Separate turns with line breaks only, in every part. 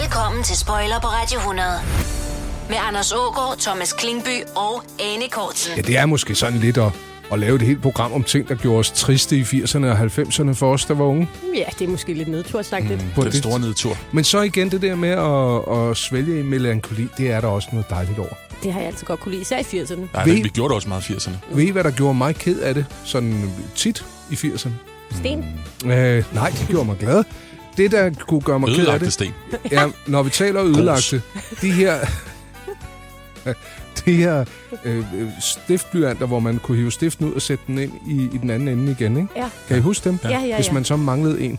Velkommen til Spoiler på Radio 100. Med Anders Ågaard, Thomas Klingby og Anne Kortsen.
Ja, det er måske sådan lidt at, at lave et helt program om ting, der gjorde os triste i 80'erne og 90'erne for os, der var unge.
Ja, det er måske lidt nedtursagtigt. Mm.
På
Den store nedtur.
Men så igen det der med at, at svælge i melankoli, det er der også noget dejligt over.
Det har jeg altid godt kunne lide, især i 80'erne.
Nej,
Ved-
men vi gjorde det også meget i 80'erne.
Ved I, hvad der gjorde mig ked af det, sådan tit i 80'erne?
Sten,
Øh, nej, det gjorde mig glad. Det, der kunne gøre mig ked af
Ødelagte
det,
sten.
ja, når vi taler ødelagte, de her, de her øh, øh, stiftblyanter, hvor man kunne hive stiften ud og sætte den ind i, i den anden ende igen, ikke?
ja.
Kan I huske dem?
Ja, ja, ja.
Hvis man så manglede en,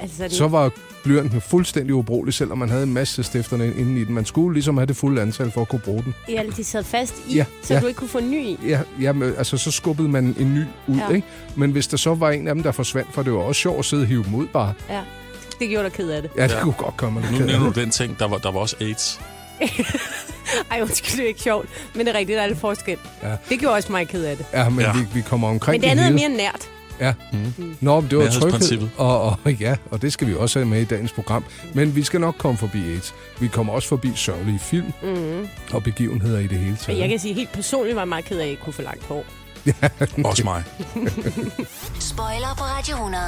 Altså, det,
så var blyanten fuldstændig ubrugelig, selvom man havde en masse af stifterne inde i den. Man skulle ligesom have det fulde antal for at kunne bruge den.
ja, de sad fast i,
Ja,
ja, så
ja.
du ikke kunne få en ny i.
Ja, jamen, altså, så skubbede man en ny ud, ja.
Ja.
ikke? Men hvis der så var en af dem, der forsvandt, for det var også sjovt at sidde og hive dem ud bare.
Ja. Det gjorde dig ked af det.
Ja, det ja. kunne godt komme. lidt
Nu
ked af
nævner
det.
du den ting, der var, der var også AIDS.
Ej, undskyld, det er ikke sjovt, men det er rigtigt, der er lidt forskel.
Ja.
Ja. Det gjorde også mig ked af det.
Ja, men ja.
Ja.
Vi, vi kommer omkring
Men det andet er
hele.
mere nært.
Ja. Mm. Nå, men det var tryghed.
Nærhedsprincippet.
Og, og, ja, og det skal vi også have med i dagens program. Men vi skal nok komme forbi AIDS. Vi kommer også forbi sørgelige film mm. og begivenheder i det hele
Men
taget.
jeg kan sige, helt personligt var jeg meget ked af, at jeg ikke kunne få langt hår.
Også mig.
Spoiler på Radio 100.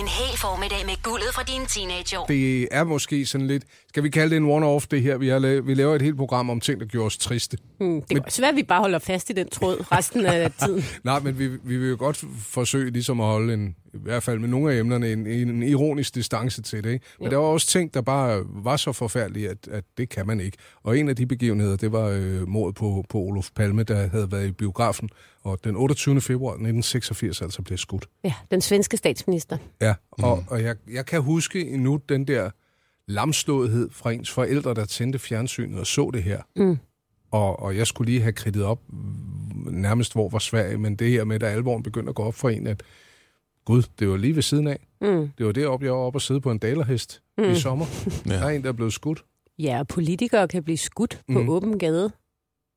En hel formiddag med guldet fra dine teenageår.
Det er måske sådan lidt... Skal vi kalde det en one-off, det her? Vi, har lavet, vi laver et helt program om ting, der gjorde os triste.
Mm, det kan også være, at vi bare holder fast i den tråd resten af tiden.
Nej, men vi, vi vil jo godt f- forsøge ligesom at holde en, i hvert fald med nogle af emnerne, en, en ironisk distance til det. Ikke? Men der var også ting, der bare var så forfærdelige, at, at det kan man ikke. Og en af de begivenheder, det var øh, mordet på, på Olof Palme, der havde været i biografen, og den 28. februar 1986 altså blev skudt.
Ja, den svenske statsminister.
Ja, og, og jeg, jeg kan huske endnu den der lamslåethed fra ens forældre, der tændte fjernsynet og så det her. Mm. Og, og jeg skulle lige have kridtet op mm, nærmest hvor var Sverige, men det her med, at alvoren begyndte at gå op for en, at gud, det var lige ved siden af.
Mm.
Det var deroppe, jeg var oppe og sidde på en dalerhest mm. i sommer. ja.
Ja.
Der er en, der er blevet skudt.
Ja, og politikere kan blive skudt på
Mm.
mm. åben gade.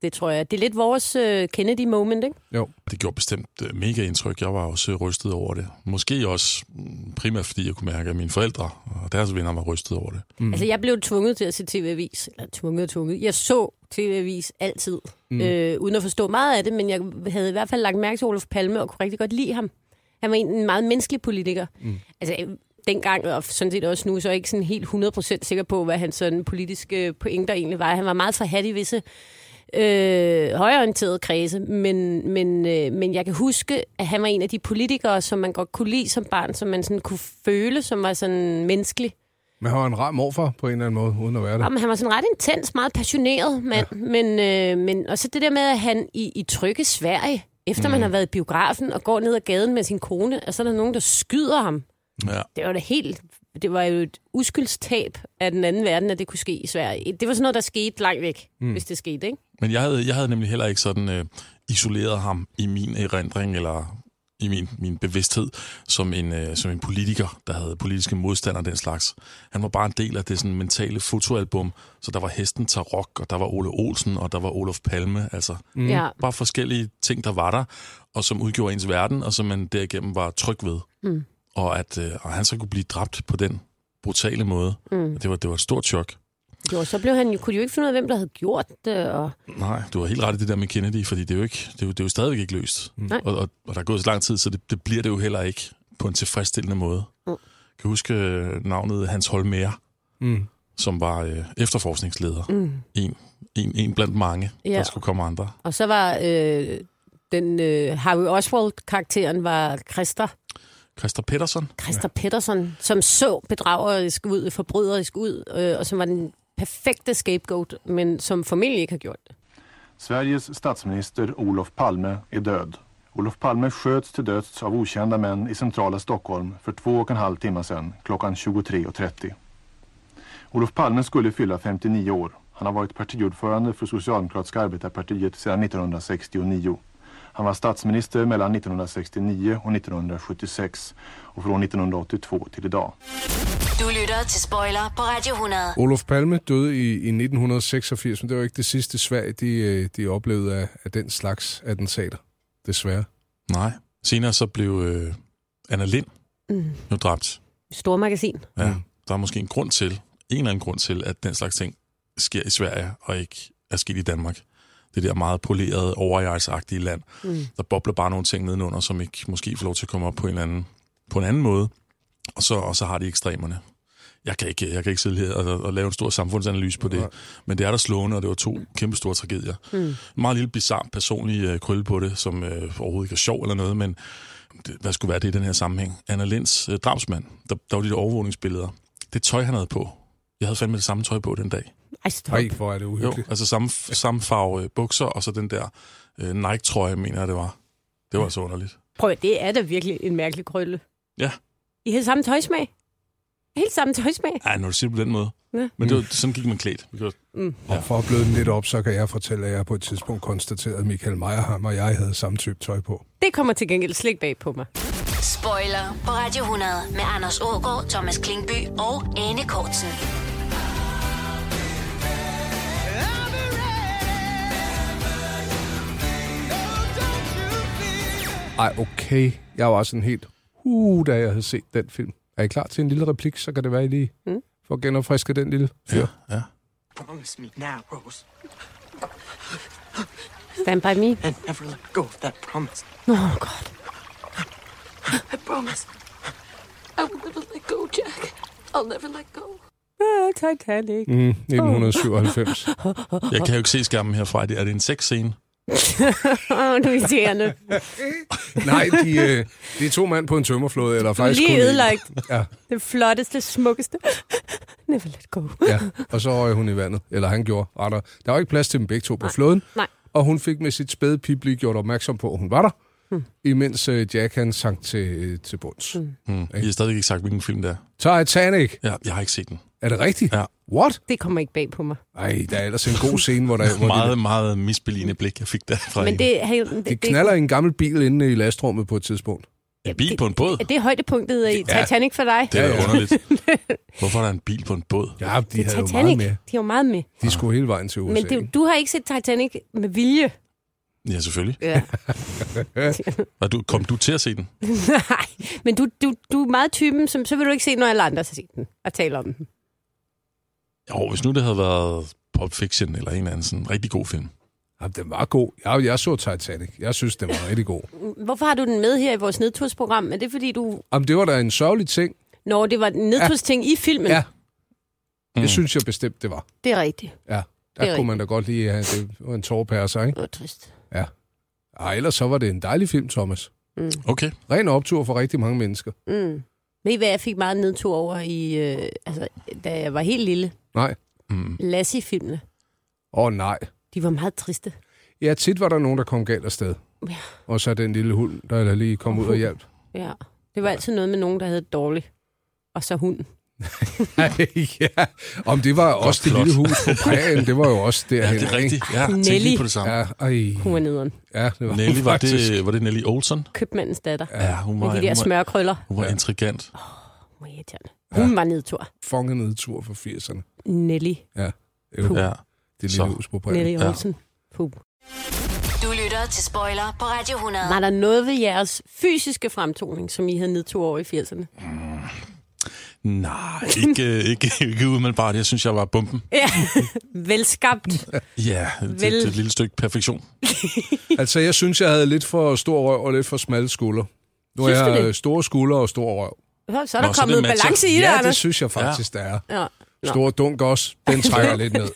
Det tror jeg. Det er lidt vores øh, Kennedy-moment, ikke?
Det gjorde bestemt øh, mega indtryk. Jeg var også øh, rystet over det. Måske også mm, primært, fordi jeg kunne mærke, at mine forældre og deres venner var rystet over det.
Mm. Altså, jeg blev tvunget til at se TV-avis. Eller tvunget og tvunget. Jeg så TV-avis altid, mm. øh, uden at forstå meget af det, men jeg havde i hvert fald lagt mærke til Olof Palme og kunne rigtig godt lide ham. Han var en en meget menneskelig politiker. Mm. Altså, øh, dengang, og sådan set også nu, så er jeg ikke sådan helt 100% sikker på, hvad hans sådan politiske pointer egentlig var. Han var meget forhat i visse øh, højorienterede kredse, men, men, øh, men jeg kan huske, at han var en af de politikere, som man godt kunne lide som barn, som man sådan kunne føle, som var sådan menneskelig.
Men han var en rar morfar på en eller anden måde, uden at være det.
Jamen, han var sådan ret intens, meget passioneret mand. Ja. Men, øh, men, og så det der med, at han i, i trygge Sverige, efter mm. man har været i biografen og går ned ad gaden med sin kone, og så er der nogen, der skyder ham.
Mm.
Ja.
Det var da helt... Det var jo et uskyldstab af den anden verden, at det kunne ske i Sverige. Det var sådan noget, der skete langt væk, mm. hvis det skete, ikke?
Men jeg havde, jeg havde nemlig heller ikke sådan øh, isoleret ham i min erindring, eller i min, min bevidsthed, som en, øh, som en politiker, der havde politiske modstandere og den slags. Han var bare en del af det sådan, mentale fotoalbum, så der var Hesten Tarok, og der var Ole Olsen, og der var Olof Palme, altså
Mm. Ja.
bare forskellige ting, der var der, og som udgjorde ens verden, og som man derigennem var tryg ved.
Mm.
Og at øh, og han så kunne blive dræbt på den brutale måde,
Mm.
det var, det var et stort chok.
Jo, så blev han, jo- kunne de jo ikke finde ud af, hvem der havde gjort det. Og...
Nej, du har helt ret i det der med Kennedy, fordi det er jo, ikke, det er jo, det er jo stadigvæk ikke løst. Mm.
Nej.
Og, og, og der er gået så lang tid, så det, det bliver det jo heller ikke på en tilfredsstillende måde. Mm. Kan du huske øh, navnet Hans Holmer,
Mm.
som var øh, efterforskningsleder? Mm. En, en, en blandt mange,
Ja.
ja. der skulle komme andre.
Og så var øh, den øh, Harry Oswald-karakteren var Christer.
Christer Pettersson?
Christer ja. Pettersson, som så bedragerisk ud, forbryderisk ud, øh, og som var den perfekte scapegoat, men som formentlig ikke har gjort det.
Sveriges statsminister Olof Palme är död. Olof Palme sköts till döds av okända män i centrala Stockholm för två och en halv timme sedan klockan 23.30. Olof Palme skulle fylla 59 år. Han har varit partiordförande för Socialdemokratiska arbetarpartiet sedan 1969. Han var statsminister mellan 1969 och 1976 och från 1982 till idag.
Du lytter til Spoiler på Radio 100.
Olof Palme døde i, i 1986, men det var ikke det sidste Sverige, de, øh, de oplevede af, af den slags attentater, desværre.
Nej. Senere så blev øh, Anna Lind mm. jo dræbt.
Stormagasin.
Ja. Mm. Der er måske en grund til, en eller anden grund til, at den slags ting sker i Sverige og ikke er sket i Danmark. Det der meget polerede, overjejsagtige land. Mm. Der bobler bare nogle ting nedenunder, som ikke måske får lov til at komme op på en, eller anden, på en anden måde. Og så, og så har de ekstremerne. Jeg kan ikke, jeg kan ikke sidde her og, og lave en stor samfundsanalyse på det. Men det er der slående, og det var to kæmpe store tragedier. Mm. En meget lille bizarre personlig øh, krølle på det, som øh, overhovedet ikke er sjov eller noget, men det, hvad skulle være det i den her sammenhæng? Anna Linds øh, drabsmand, der, der var de der overvågningsbilleder. Det tøj, han havde på. Jeg havde fandme det samme tøj på den dag.
Ej, stop.
Nej, hvor er det
Jo,
uhyggeligt.
altså samme, samme farve øh, bukser, og så den der øh, Nike-trøje, mener jeg, det var. Det var altså underligt.
Prøv at, det er da virkelig en mærkelig krølle.
Ja.
I har samme tøjsmag. Helt samme tøjsmag.
Ej, når du siger det på den måde.
Ja.
Men det var, sådan gik man klædt. Vi gjorde-
mm.
Og for at bløde den lidt op, så kan jeg fortælle, at jeg på et tidspunkt konstaterede, at Michael Meyerheim og jeg havde samme type tøj på.
Det kommer til gengæld slet ikke bag på mig.
Spoiler på Radio 100 med Anders Ågaard, Thomas Klingby og Anne Kortsen.
Ej, okay. Jeg var sådan helt, uh, da jeg havde set den film. Er I klar til en lille replik, så kan det være, I lige mm. får genopfrisket den lille fyr.
Ja.
Promise me now, Rose,
Stand by me.
and never let go of that promise.
Nå, oh, godt.
I promise. I will never let go, Jack. I'll never let go.
Ah, Titanic.
Mm, 1997.
Jeg kan jo ikke se skærmen herfra. Er det, er det en sexscene?
Åh, oh, du er irriterende.
Nej, de, øh, de er to mænd på en tømmerflåde, eller
Du er
faktisk
lige
kun en.
ødelagt.
Ja,
Det flotteste, smukkeste. Never let go.
ja, og så røg hun i vandet, eller han gjorde, retter. Der var ikke plads til dem begge to på flåden,
Nej.
og hun fik med sit spæde pip lige gjort opmærksom på, at hun var der,
Hmm.
mm. imens øh, Jack han sank til, til bunds. Mm.
Mm. Jeg har stadig ikke sagt, hvilken film det er.
Titanic,
Ja, jeg har ikke set den.
er det rigtigt?
Ja.
What?
Det kommer ikke bag på mig.
Ej, der er ellers en god scene, hvor der... Hvor de-
Meget, meget misbeligende blik, jeg fik der fra
Men
en.
det, hey, det,
De knaller i en gammel bil inde i lastrummet på et tidspunkt.
en bil på en båd.
Det, det er højdepunktet i Titanic for dig.
Det er
Ja,
da
ja.
underligt. Hvorfor er der en bil på en båd?
Ja, de
det
havde jo
er
meget
Titanic.
med.
De er jo meget med.
De skulle hele vejen til USA.
Men det, du har ikke set Titanic med vilje.
Ja, selvfølgelig.
Ja.
Og du, kom du til at se den?
Nej, men du, du, du er meget typen, som så vil du ikke se, når alle andre har set den og taler om den.
Jo, hvis nu det havde været Pop Fiction eller en eller anden sådan rigtig god film.
Jamen, den var god. Jeg, jeg så Titanic. Jeg synes, den var rigtig god.
Hvorfor har du den med her i vores nedtursprogram? Er det fordi du...
Jamen, det var da en sørgelig ting.
Nå, det var en nedtursting i filmen.
Ja,
Mm.
det synes jeg bestemt, det var.
Det er rigtigt.
Ja,
er
der kunne man da godt lige have det var en tårpærser, ikke?
Det var trist.
Ja. Ej, ellers så var det en dejlig film, Thomas.
Okay.
Ren optur for rigtig mange mennesker.
Mm. Ved I, hvad jeg fik meget nedtur over, i, øh, altså, da jeg var helt lille?
Nej.
Mm.
Lassie-filmene.
Åh, oh, nej.
De var meget triste.
Ja, tit var der nogen, der kom galt afsted.
Ja.
Og så den lille hund, der der lige kom ud og hjalp.
Ja. Det var altid noget med nogen, der havde det dårligt. Og så hunden.
ja. Om det var også det
plot.
lille hus på prærien, det var jo også
Ja,
derhen.
det er rigtigt. Ja,
Nelly.
tænk lige på det samme.
Ja, ej.
Hun var nederen.
Ja, det var
Nelly,
hun
var
faktisk.
det, var det Nelly Olsen?
Købmandens datter.
Ja, hun
Med
var,
de der
hun var,
smørkrøller.
hun var intrigant.
Hvor irriterende. Hun var nedtur.
Fanget nedtur for 80'erne.
Nelly.
Ja. Det, er jo
Ja.
det
Så.
lille hus på prærien.
Nelly
Ja.
Olsen. Puh.
Du lytter til Spoiler på Radio 100.
Var der noget ved jeres fysiske fremtoning, som I havde nedtur over i 80'erne?
Nej, ikke, øh, ikke, ikke umiddelbart. Jeg synes, jeg var bomben.
Ja, velskabt.
Ja, det,
Vel.
det er et lille stykke perfektion.
Altså, jeg synes, jeg havde lidt for stor røv og lidt for smalle skulder. Nu har
Synes du
jeg
det?
øh, store skuldre og stor røv.
Nå, Så er
Nå,
der
så
Nå,
det
kommet
matcher.
balance i det,
Ja, det
Anders.
synes jeg faktisk, der er.
Ja. Nå.
Stor dunk også. Den trækker lidt ned.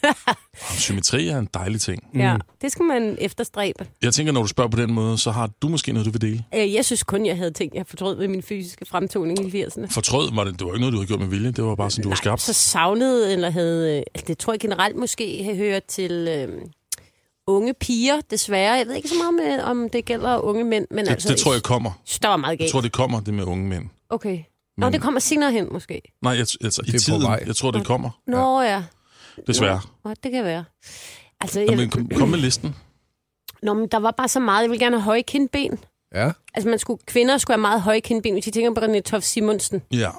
Symmetri er en dejlig ting.
ja, det skal man efterstræbe.
Jeg tænker, når du spørger på den måde, så har du måske noget, du vil dele.
Øh, Jeg synes kun, jeg havde ting, jeg fortrød ved min fysiske fremtoning i 80'erne.
Fortrød var det, det var ikke noget, du havde gjort med vilje. Det var bare sådan, du var skabt.
Så savnede, eller havde... øh, altså, Det tror jeg generelt måske hører til øh, unge piger, desværre. Jeg ved ikke så meget med, om det gælder unge mænd, men
Det,
altså...
det tror jeg kommer.
Der var meget
Jeg
galt.
tror, det kommer, det med unge mænd.
Okay. Nå,
Men-
det kommer senere hen, måske.
Nej, jeg, altså, i
Det er på
tiden.
vej.
Jeg tror, det kommer,
Nå, ja. ja.
desværre.
Nå, det kan være. Altså,
Nå,
jeg,
men kom, kom med listen.
Nå, men der var bare så meget. Jeg ville gerne have høje kindben.
Ja.
Altså, man skulle, kvinder skulle have meget høje kindben. Hvis I tænker på René Toft Simonsen.
Ja.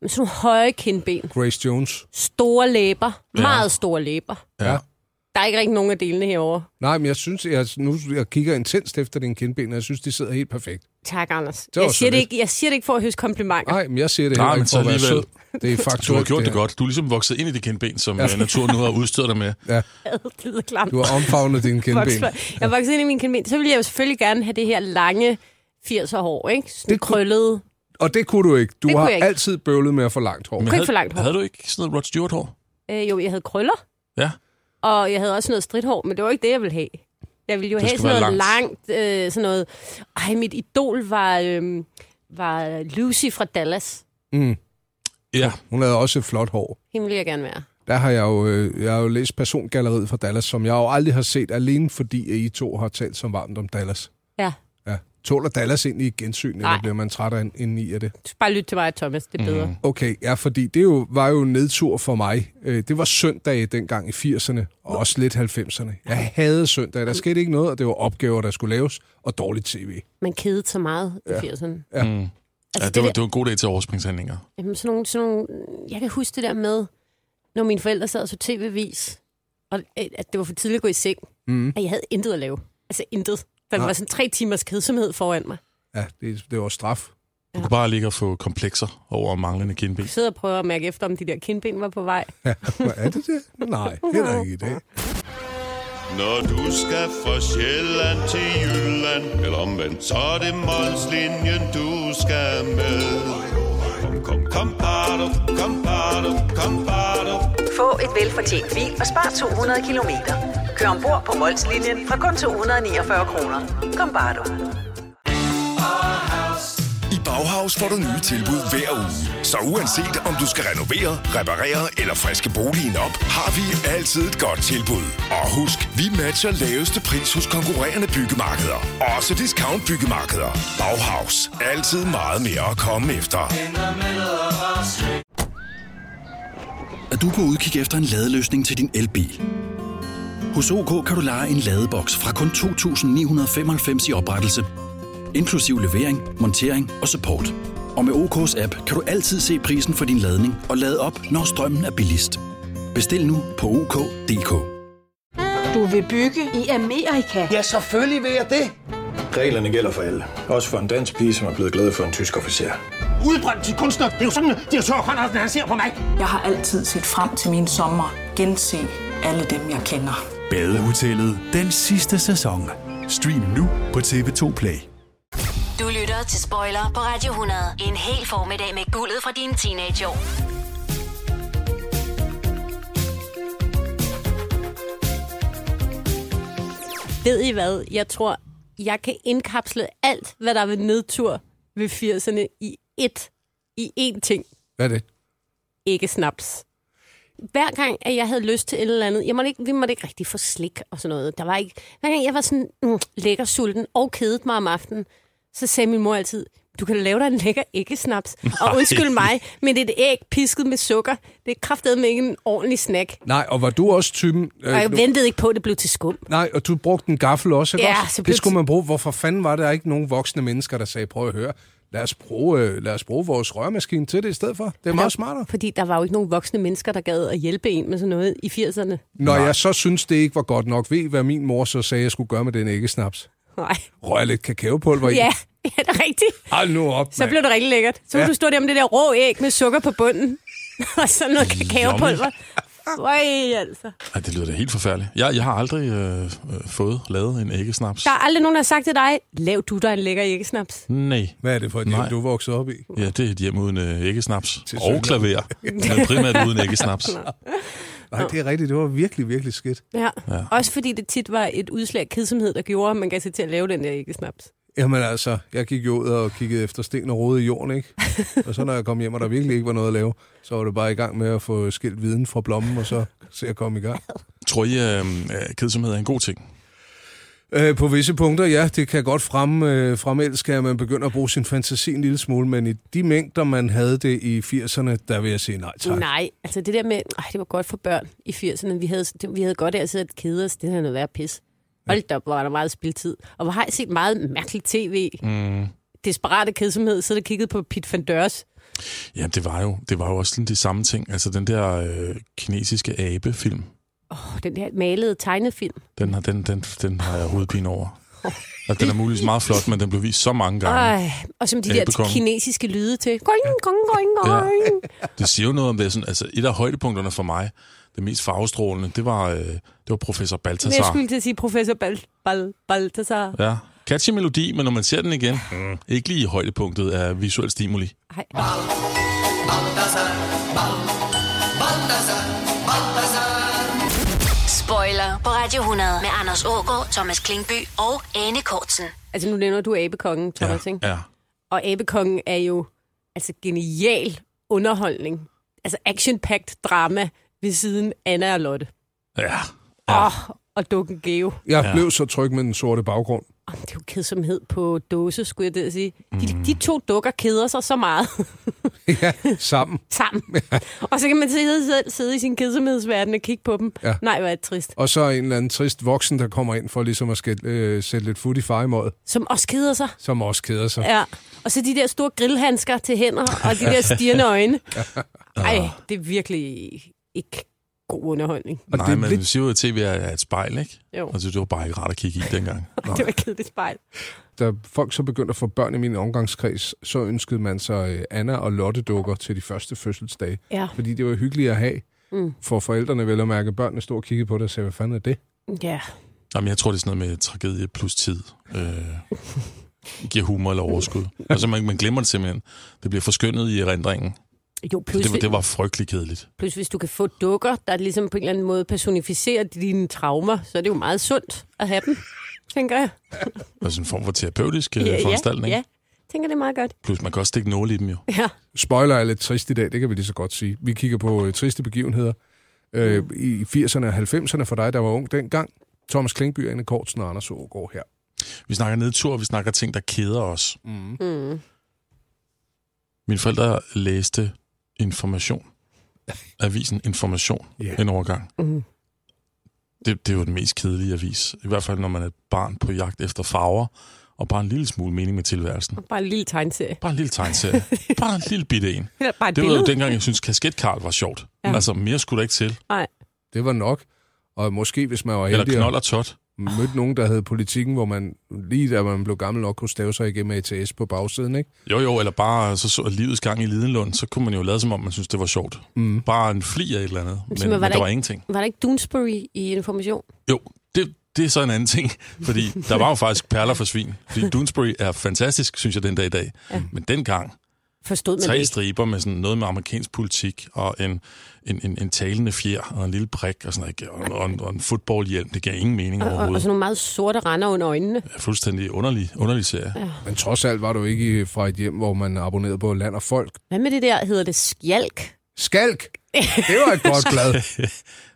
Men sådan nogle høje kindben.
Grace Jones.
Store læber.
Ja.
Ja. Meget store læber.
ja.
Der er ikke rigtig nogen af delene herovre.
Nej, men jeg synes, jeg, nu jeg kigger intenst efter din kindben, og jeg synes, de sidder helt perfekt.
Tak, Anders.
var
Jeg siger, det
sødt.
ikke, jeg siger det ikke for at høste komplimenter.
Nej, men jeg siger det
Nej,
heller
men
ikke for
så
at være sød.
alligevel.
Det er
Du har
faktuelt.
gjort det
her.
godt. Du er ligesom vokset ind i det kendben, som ja. naturen nu har udstyret dig med.
Ja,
Det lyder klamt.
du har omfavnet dine kindben.
Voksfløj. Jeg voksede ind i min kindben. Så ville jeg jo selvfølgelig gerne have det her lange 80'er hår, ikke? Sådan
Det
det
kunne-
krøllede.
Og det kunne du ikke. Du
Det kunne
har
jeg ikke.
altid bøvlet med at få langt hår.
Men
ikke
havde,
få langt hår.
Havde du ikke sådan noget Rod Stewart-hår?
Øh, jo, jeg havde krøller,
Ja.
og jeg havde også noget stridthår, men det var ikke det, jeg ville have. Jeg ville jo
Det
have
skulle
sådan
være
noget langt, øh, sådan noget... Ej, mit idol var, øh, var Lucy fra Dallas.
Mm.
Ja.
Hun havde også et flot hår.
Hende ville jeg gerne være.
Der har jeg jo, øh, jeg har jo læst Persongalleriet fra Dallas, som jeg jo aldrig har set, alene fordi at I to har talt så varmt om Dallas.
Ja.
Ja. Tåler Dallas ind i et gensyn, eller
Nej.
bliver man træt af en indeni af det?
Bare lyt til mig, Thomas. Det er bedre. Mm.
Mhm.
Okay, ja, fordi det jo, var jo en nedtur for mig. Øh, Det var søndag dengang i 80'erne, og også lidt 90'erne. Jeg havde søndag, der skete ikke noget, og det var opgaver, der skulle laves, og dårligt tv.
Man kedede så meget i 80'erne.
Ja.
Mm.
Ja,
Altså,
det, var, det var en god dag til overspringshandlinger.
Jamen, sådan nogle, sådan nogle, jeg kan huske det der med, når mine forældre sad og så tv-vis, og øh, at det var for tidligt at gå i seng,
Mhm.
mm. at jeg havde intet at lave. Altså intet. Der var sådan tre timers kedsomhed foran mig.
Ja, det, det var straf.
Du kunne bare ligge og få komplekser over manglende kindben.
Jeg sidder og prøver at mærke efter, om de der kindben var på vej.
Hvad er det det? Nej, heller ikke i dag.
Når du skal fra Sjælland til Jylland Eller omvendt, så er det Molslinjen, du skal med Kom, kom, kom, bado, kom, bado, kom, bado.
Få et velfortjent bil og spar 200 kilometer. Kør ombord på Molslinjen fra kun 249 kroner. Kom bare du.
I Bauhaus får du nye tilbud hver uge. Så uanset om du skal renovere, reparere eller friske boligen op, har vi altid et godt tilbud. Og husk, vi matcher laveste pris hos konkurrerende byggemarkeder. Også discount byggemarkeder. Bauhaus. Altid meget mere at komme efter.
at du er på udkig efter en ladeløsning til din elbil. Hos OK kan du lege en ladeboks fra kun 2.995 i oprettelse, inklusiv levering, montering og support. Og med OK's app kan du altid se prisen for din ladning og lade op, når strømmen er billigst. Bestil nu på OK.dk.
Du vil bygge i Amerika?
Ja, selvfølgelig vil jeg det. Reglerne gælder for alle. Også for en dansk pige, som er blevet glad for en tysk officer.
Udbrændt til kunstner. Det er jo sådan, at de har tørt, han ser på mig.
Jeg har altid set frem til min sommer. Gense alle dem, jeg kender.
Badehotellet. Den sidste sæson. Stream nu på TV2 Play.
Du lytter til Spoiler på Radio 100. En hel formiddag med guldet fra dine teenageår.
Ved I hvad? Jeg tror, jeg kan indkapsle alt, hvad der er ved nedtur ved 80'erne i ét, i én ting.
Hvad er det?
ikke snaps. Hver gang, at jeg havde lyst til et eller andet, jeg måtte ikke, vi måtte ikke rigtig få slik og sådan noget. Der var ikke, hver gang jeg var sådan mm, lækker sulten og kedet mig om aftenen, så sagde min mor altid, du kan lave dig en lækker æggesnaps. Og undskyld mig, men det er et æg pisket med sukker. Det er kraftedeme ikke en ordentlig snack.
Nej, og var du også typen... Øh,
Og jeg
du-
ventede ikke på, at det blev til skum.
Nej, og du brugte en gaffel også, ikke
Ja,
også?
så
Det
pludselig-
skulle man bruge. Hvorfor fanden var der ikke nogen voksne mennesker, der sagde, prøv at høre, lad os bruge, øh, lad os bruge vores rørmaskine til det i stedet for. Det er meget smartere.
Fordi der var jo ikke nogen voksne mennesker, der gad at hjælpe en med sådan noget i 80'erne.
Når jeg så synes, det ikke var godt nok, ved I, hvad min mor så sagde, jeg skulle gøre med den æggesnaps?
Nej.
Røg lidt kakaopulver i.
Ja, ja, det er rigtigt.
Hold nu op,
Så
mand.
blev det rigtig lækkert. Så kunne
Ja.
ja. du stå der med det der rå æg med sukker på bunden. og sådan noget kakaopulver. Øj, altså.
Ej, det lyder da helt forfærdeligt. Jeg, jeg har aldrig øh, øh, fået lavet en æggesnaps.
Der er aldrig nogen, der har sagt til dig, lav du dig en lækker æggesnaps.
Nej.
Hvad er det for et
Nej.
hjem, du er vokset op i?
Ja, det er et hjem uden øh, æggesnaps. Og
synligheden.
klaver. Men primært uden æggesnaps.
Nej, det er rigtigt. Det var virkelig, virkelig skidt.
Ja. ja. Også fordi det tit var et udslag af kedsomhed, der gjorde, at man gav sig til at lave den der æggesnaps.
Jamen altså, jeg gik jo ud og kiggede efter sten og rode i jorden, ikke? Og så når jeg kom hjem, og der virkelig ikke var noget at lave, så var det bare i gang med at få skilt viden fra blommen, og så se at komme i gang.
Tror I, øh, øh, kedsomhed er en god ting?
Øh, på visse punkter, ja, det kan godt frem, øh, fremelske, at man begynder at bruge sin fantasi en lille smule, men i de mængder, man havde det i 80'erne, der vil jeg sige nej tak.
Nej, altså det der med, ej, det var godt for børn i 80'erne. Vi havde, det- vi havde godt af at sidde og kede os. Det her noget værd pis. Hold da op, hvor var der meget spildtid. Og hvor har jeg set meget mærkeligt tv. Mm. Desperate kedsomhed, så der kiggede på Pete Van Dørs.
Ja, det var jo, det var jo også sådan de samme ting. Altså den der øh, kinesiske abefilm,
Åh, den der malede tegnefilm.
den har, den, den, den har jeg hovedpine over. Og den er muligvis meget flot, men den blev vist så mange gange.
Ej, og som de
Ja,
der
bekommen.
kinesiske lyde til. Gong, gong, gong, gong.
Det siger jo noget om det. er Sådan, altså, et af højdepunkterne for mig, det mest farvestrålende, det var, øh, det var professor
Men jeg
Baltasar.
skulle til at sige professor Bal, Bal, Baltasar.
Ja. Catchy melodi, men når man ser den igen, mm. ikke lige i højdepunktet af visuel stimuli.
Ah.
Spoiler på Radio 100 med Anders Ågaard, Thomas Klingby og Anne Kortsen.
Altså nu nævner du abekongen, Thomas, ja. ikke?
Ja.
Og abekongen er jo altså genial underholdning. Altså action-packed drama ved siden Anna og Lotte.
Ja.
Ja. Oh, og dukken Geo.
Jeg ja. blev så tryg med den sorte baggrund.
Det er jo kedsomhed på dåse, skulle jeg til at sige. De, de to dukker keder sig så meget
ja, sammen.
sammen. og så kan man sidde, sidde, sidde i sin kedsomhedsverden og kigge på dem.
Ja.
Ja. Nej, hvor er det trist.
Og så en eller anden trist voksen, der kommer ind for ligesom at skæt, øh, sætte lidt fut i fejmåret,
Som også keder sig.
som også keder sig.
Ja. Og så de der store grillhandsker til hænder, og de der stirrende øjne. Ej, det er virkelig ikke god underholdning.
Og Nej, men lidt... du siger jo, at tv er- er et spejl, ikke?
Jo.
Altså, det var bare ikke rart at kigge i dengang.
Det var et kedeligt spejl.
Da folk så begyndte at få børn i min omgangskreds, så ønskede man sig øh, Anna og Lotte dukker til de første fødselsdage.
Ja.
Fordi det var hyggeligt at have.
Mm.
For forældrene vel at mærke, børnene stod og kiggede på det og sagde, hvad fanden er det?
Ja.
Jamen, jeg tror, det er sådan noget med tragedie plus tid. Øh, giver humor eller overskud. Altså, man, man glemmer det simpelthen. Det bliver forskyndet i erindringen.
Jo, plus,
Altså, Det, var- det var frygtelig kedeligt.
plus hvis du kan få dukker, der ligesom på en eller anden måde personificerer dine traumer, så er det jo meget sundt at have dem, tænker jeg.
Altså, en form for terapeutisk øh,
ja,
foranstaltning.
ja. Tænker det er meget godt.
Plus, man kan også stikke nåle i dem jo.
Ja.
Spoiler er lidt trist i dag, det kan vi lige så godt sige. Vi kigger på øh, triste begivenheder øh,
Mm.
i 80'erne og 90'erne for dig, der var ung dengang. Thomas Klingby, Anne Kortsen og Anders Aargaard her.
Vi snakker nedtur, vi snakker ting, der keder os.
Mm.
Mm.
Mine forældre læste Information. Avisen Information.
Ja.
En overgang.
Mm.
Det, det er jo den mest kedelige avis. I hvert fald, når man er et barn på jagt efter farver, og bare en lille smule mening med tilværelsen.
Bare en lille tegneserie.
Bare en lille tegneserie. bare en lille bitte en.
Eller bare et
Det var
billede.
jo dengang, jeg synes kasket Karl var sjovt. Ja.
Ja.
Altså, mere skulle der ikke til.
Nej.
Det var nok. Og måske, hvis man var
Eller
heldig
knold
og
og tot.
mødte nogen, der havde politikken, hvor man lige da man blev gammel nok kunne stave sig igennem ATS på bagsiden, ikke?
Jo, jo, eller bare så, så livets gang i Lidenlund, så kunne man jo lade som om, man synes, det var sjovt.
Mm.
Bare en fli af et eller andet, men,
Så
men
var
der
der
var
ikke-
ingenting.
Var der ikke Doonesbury i information?
Jo, det, det er så en anden ting, fordi der var jo faktisk perler for svin. Fordi Doonesbury er fantastisk, synes jeg, den dag i dag. Ja. Men dengang,
Forstod man det
tre
ikke?
striber med sådan noget med amerikansk politik, og en, en, en, en talende fjer, og en lille prik, og sådan noget, og, og, en, og en footballhjelm, det gav ingen mening
Og, og, og
overhovedet.
sådan nogle meget sorte render under øjnene.
Ja, Fuldstændig underlig, underlig serie.
Ja.
Men trods alt var du ikke fra et hjem, hvor man abonnerede på land og folk.
Hvad med det der, hedder det skjalk?
Skalk! Det var et godt blad.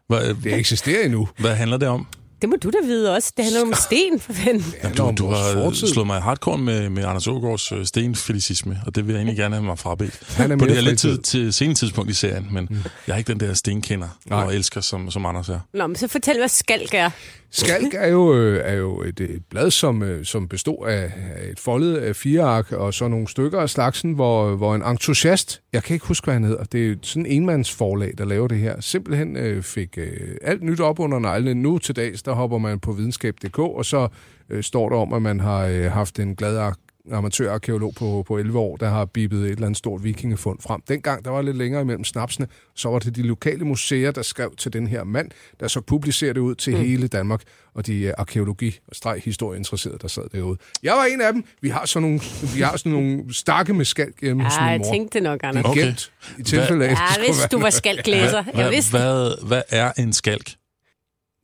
Hvad,
Det eksisterer endnu.
hvad handler det om?
Det må du da vide også. Det handler om sten, for fanden.
Det handler
Du,
om
du
vores
har
fortid.
slået mig i hardcore med, med Anders Ågaards øh, stenfelicisme, og det vil jeg egentlig gerne have mig frabedt.
Han er
På
mere
det her lidt
fritid.
tid, til senere tidspunkt i serien, men jeg er ikke den der stenkender
Nej.
og elsker, som, som Anders er.
Nå, men så fortæl, hvad skalk er.
Skalk er jo, øh, er jo et, et blad, som, øh, som bestod af af et foldet af fire ark og så nogle stykker af slagsen, hvor, hvor en entusiast, jeg kan ikke huske, hvad han hedder, det er sådan en enmandsforlag, der laver det her, simpelthen øh, fik øh, alt nyt op under neglene. Nu til dags, der hopper man på videnskab.dk, og så øh, står der om, at man har øh, haft en glad ark amatørarkeolog på, på 11 år, der har bippet et eller andet stort vikingefund frem. Dengang, der var lidt længere imellem snapsene, så var det de lokale museer, der skrev til den her mand, der så publicerede det ud til mm. hele Danmark, og de øh, arkeologi- og streg-historieinteresserede, der sad derude. Jeg var en af dem. Vi har sådan nogle, vi har sådan nogle stakke med skalk hjemme hos
Ja,
min
jeg
mor.
tænkte det nok, Anders.
Det er
Okay.
gemt i tilfælde af, at det
Ja,
skulle
hvis
være
du var
noget.
skalklæser. Jeg
Hvad,
vidste
hvad, hvad er en skalk?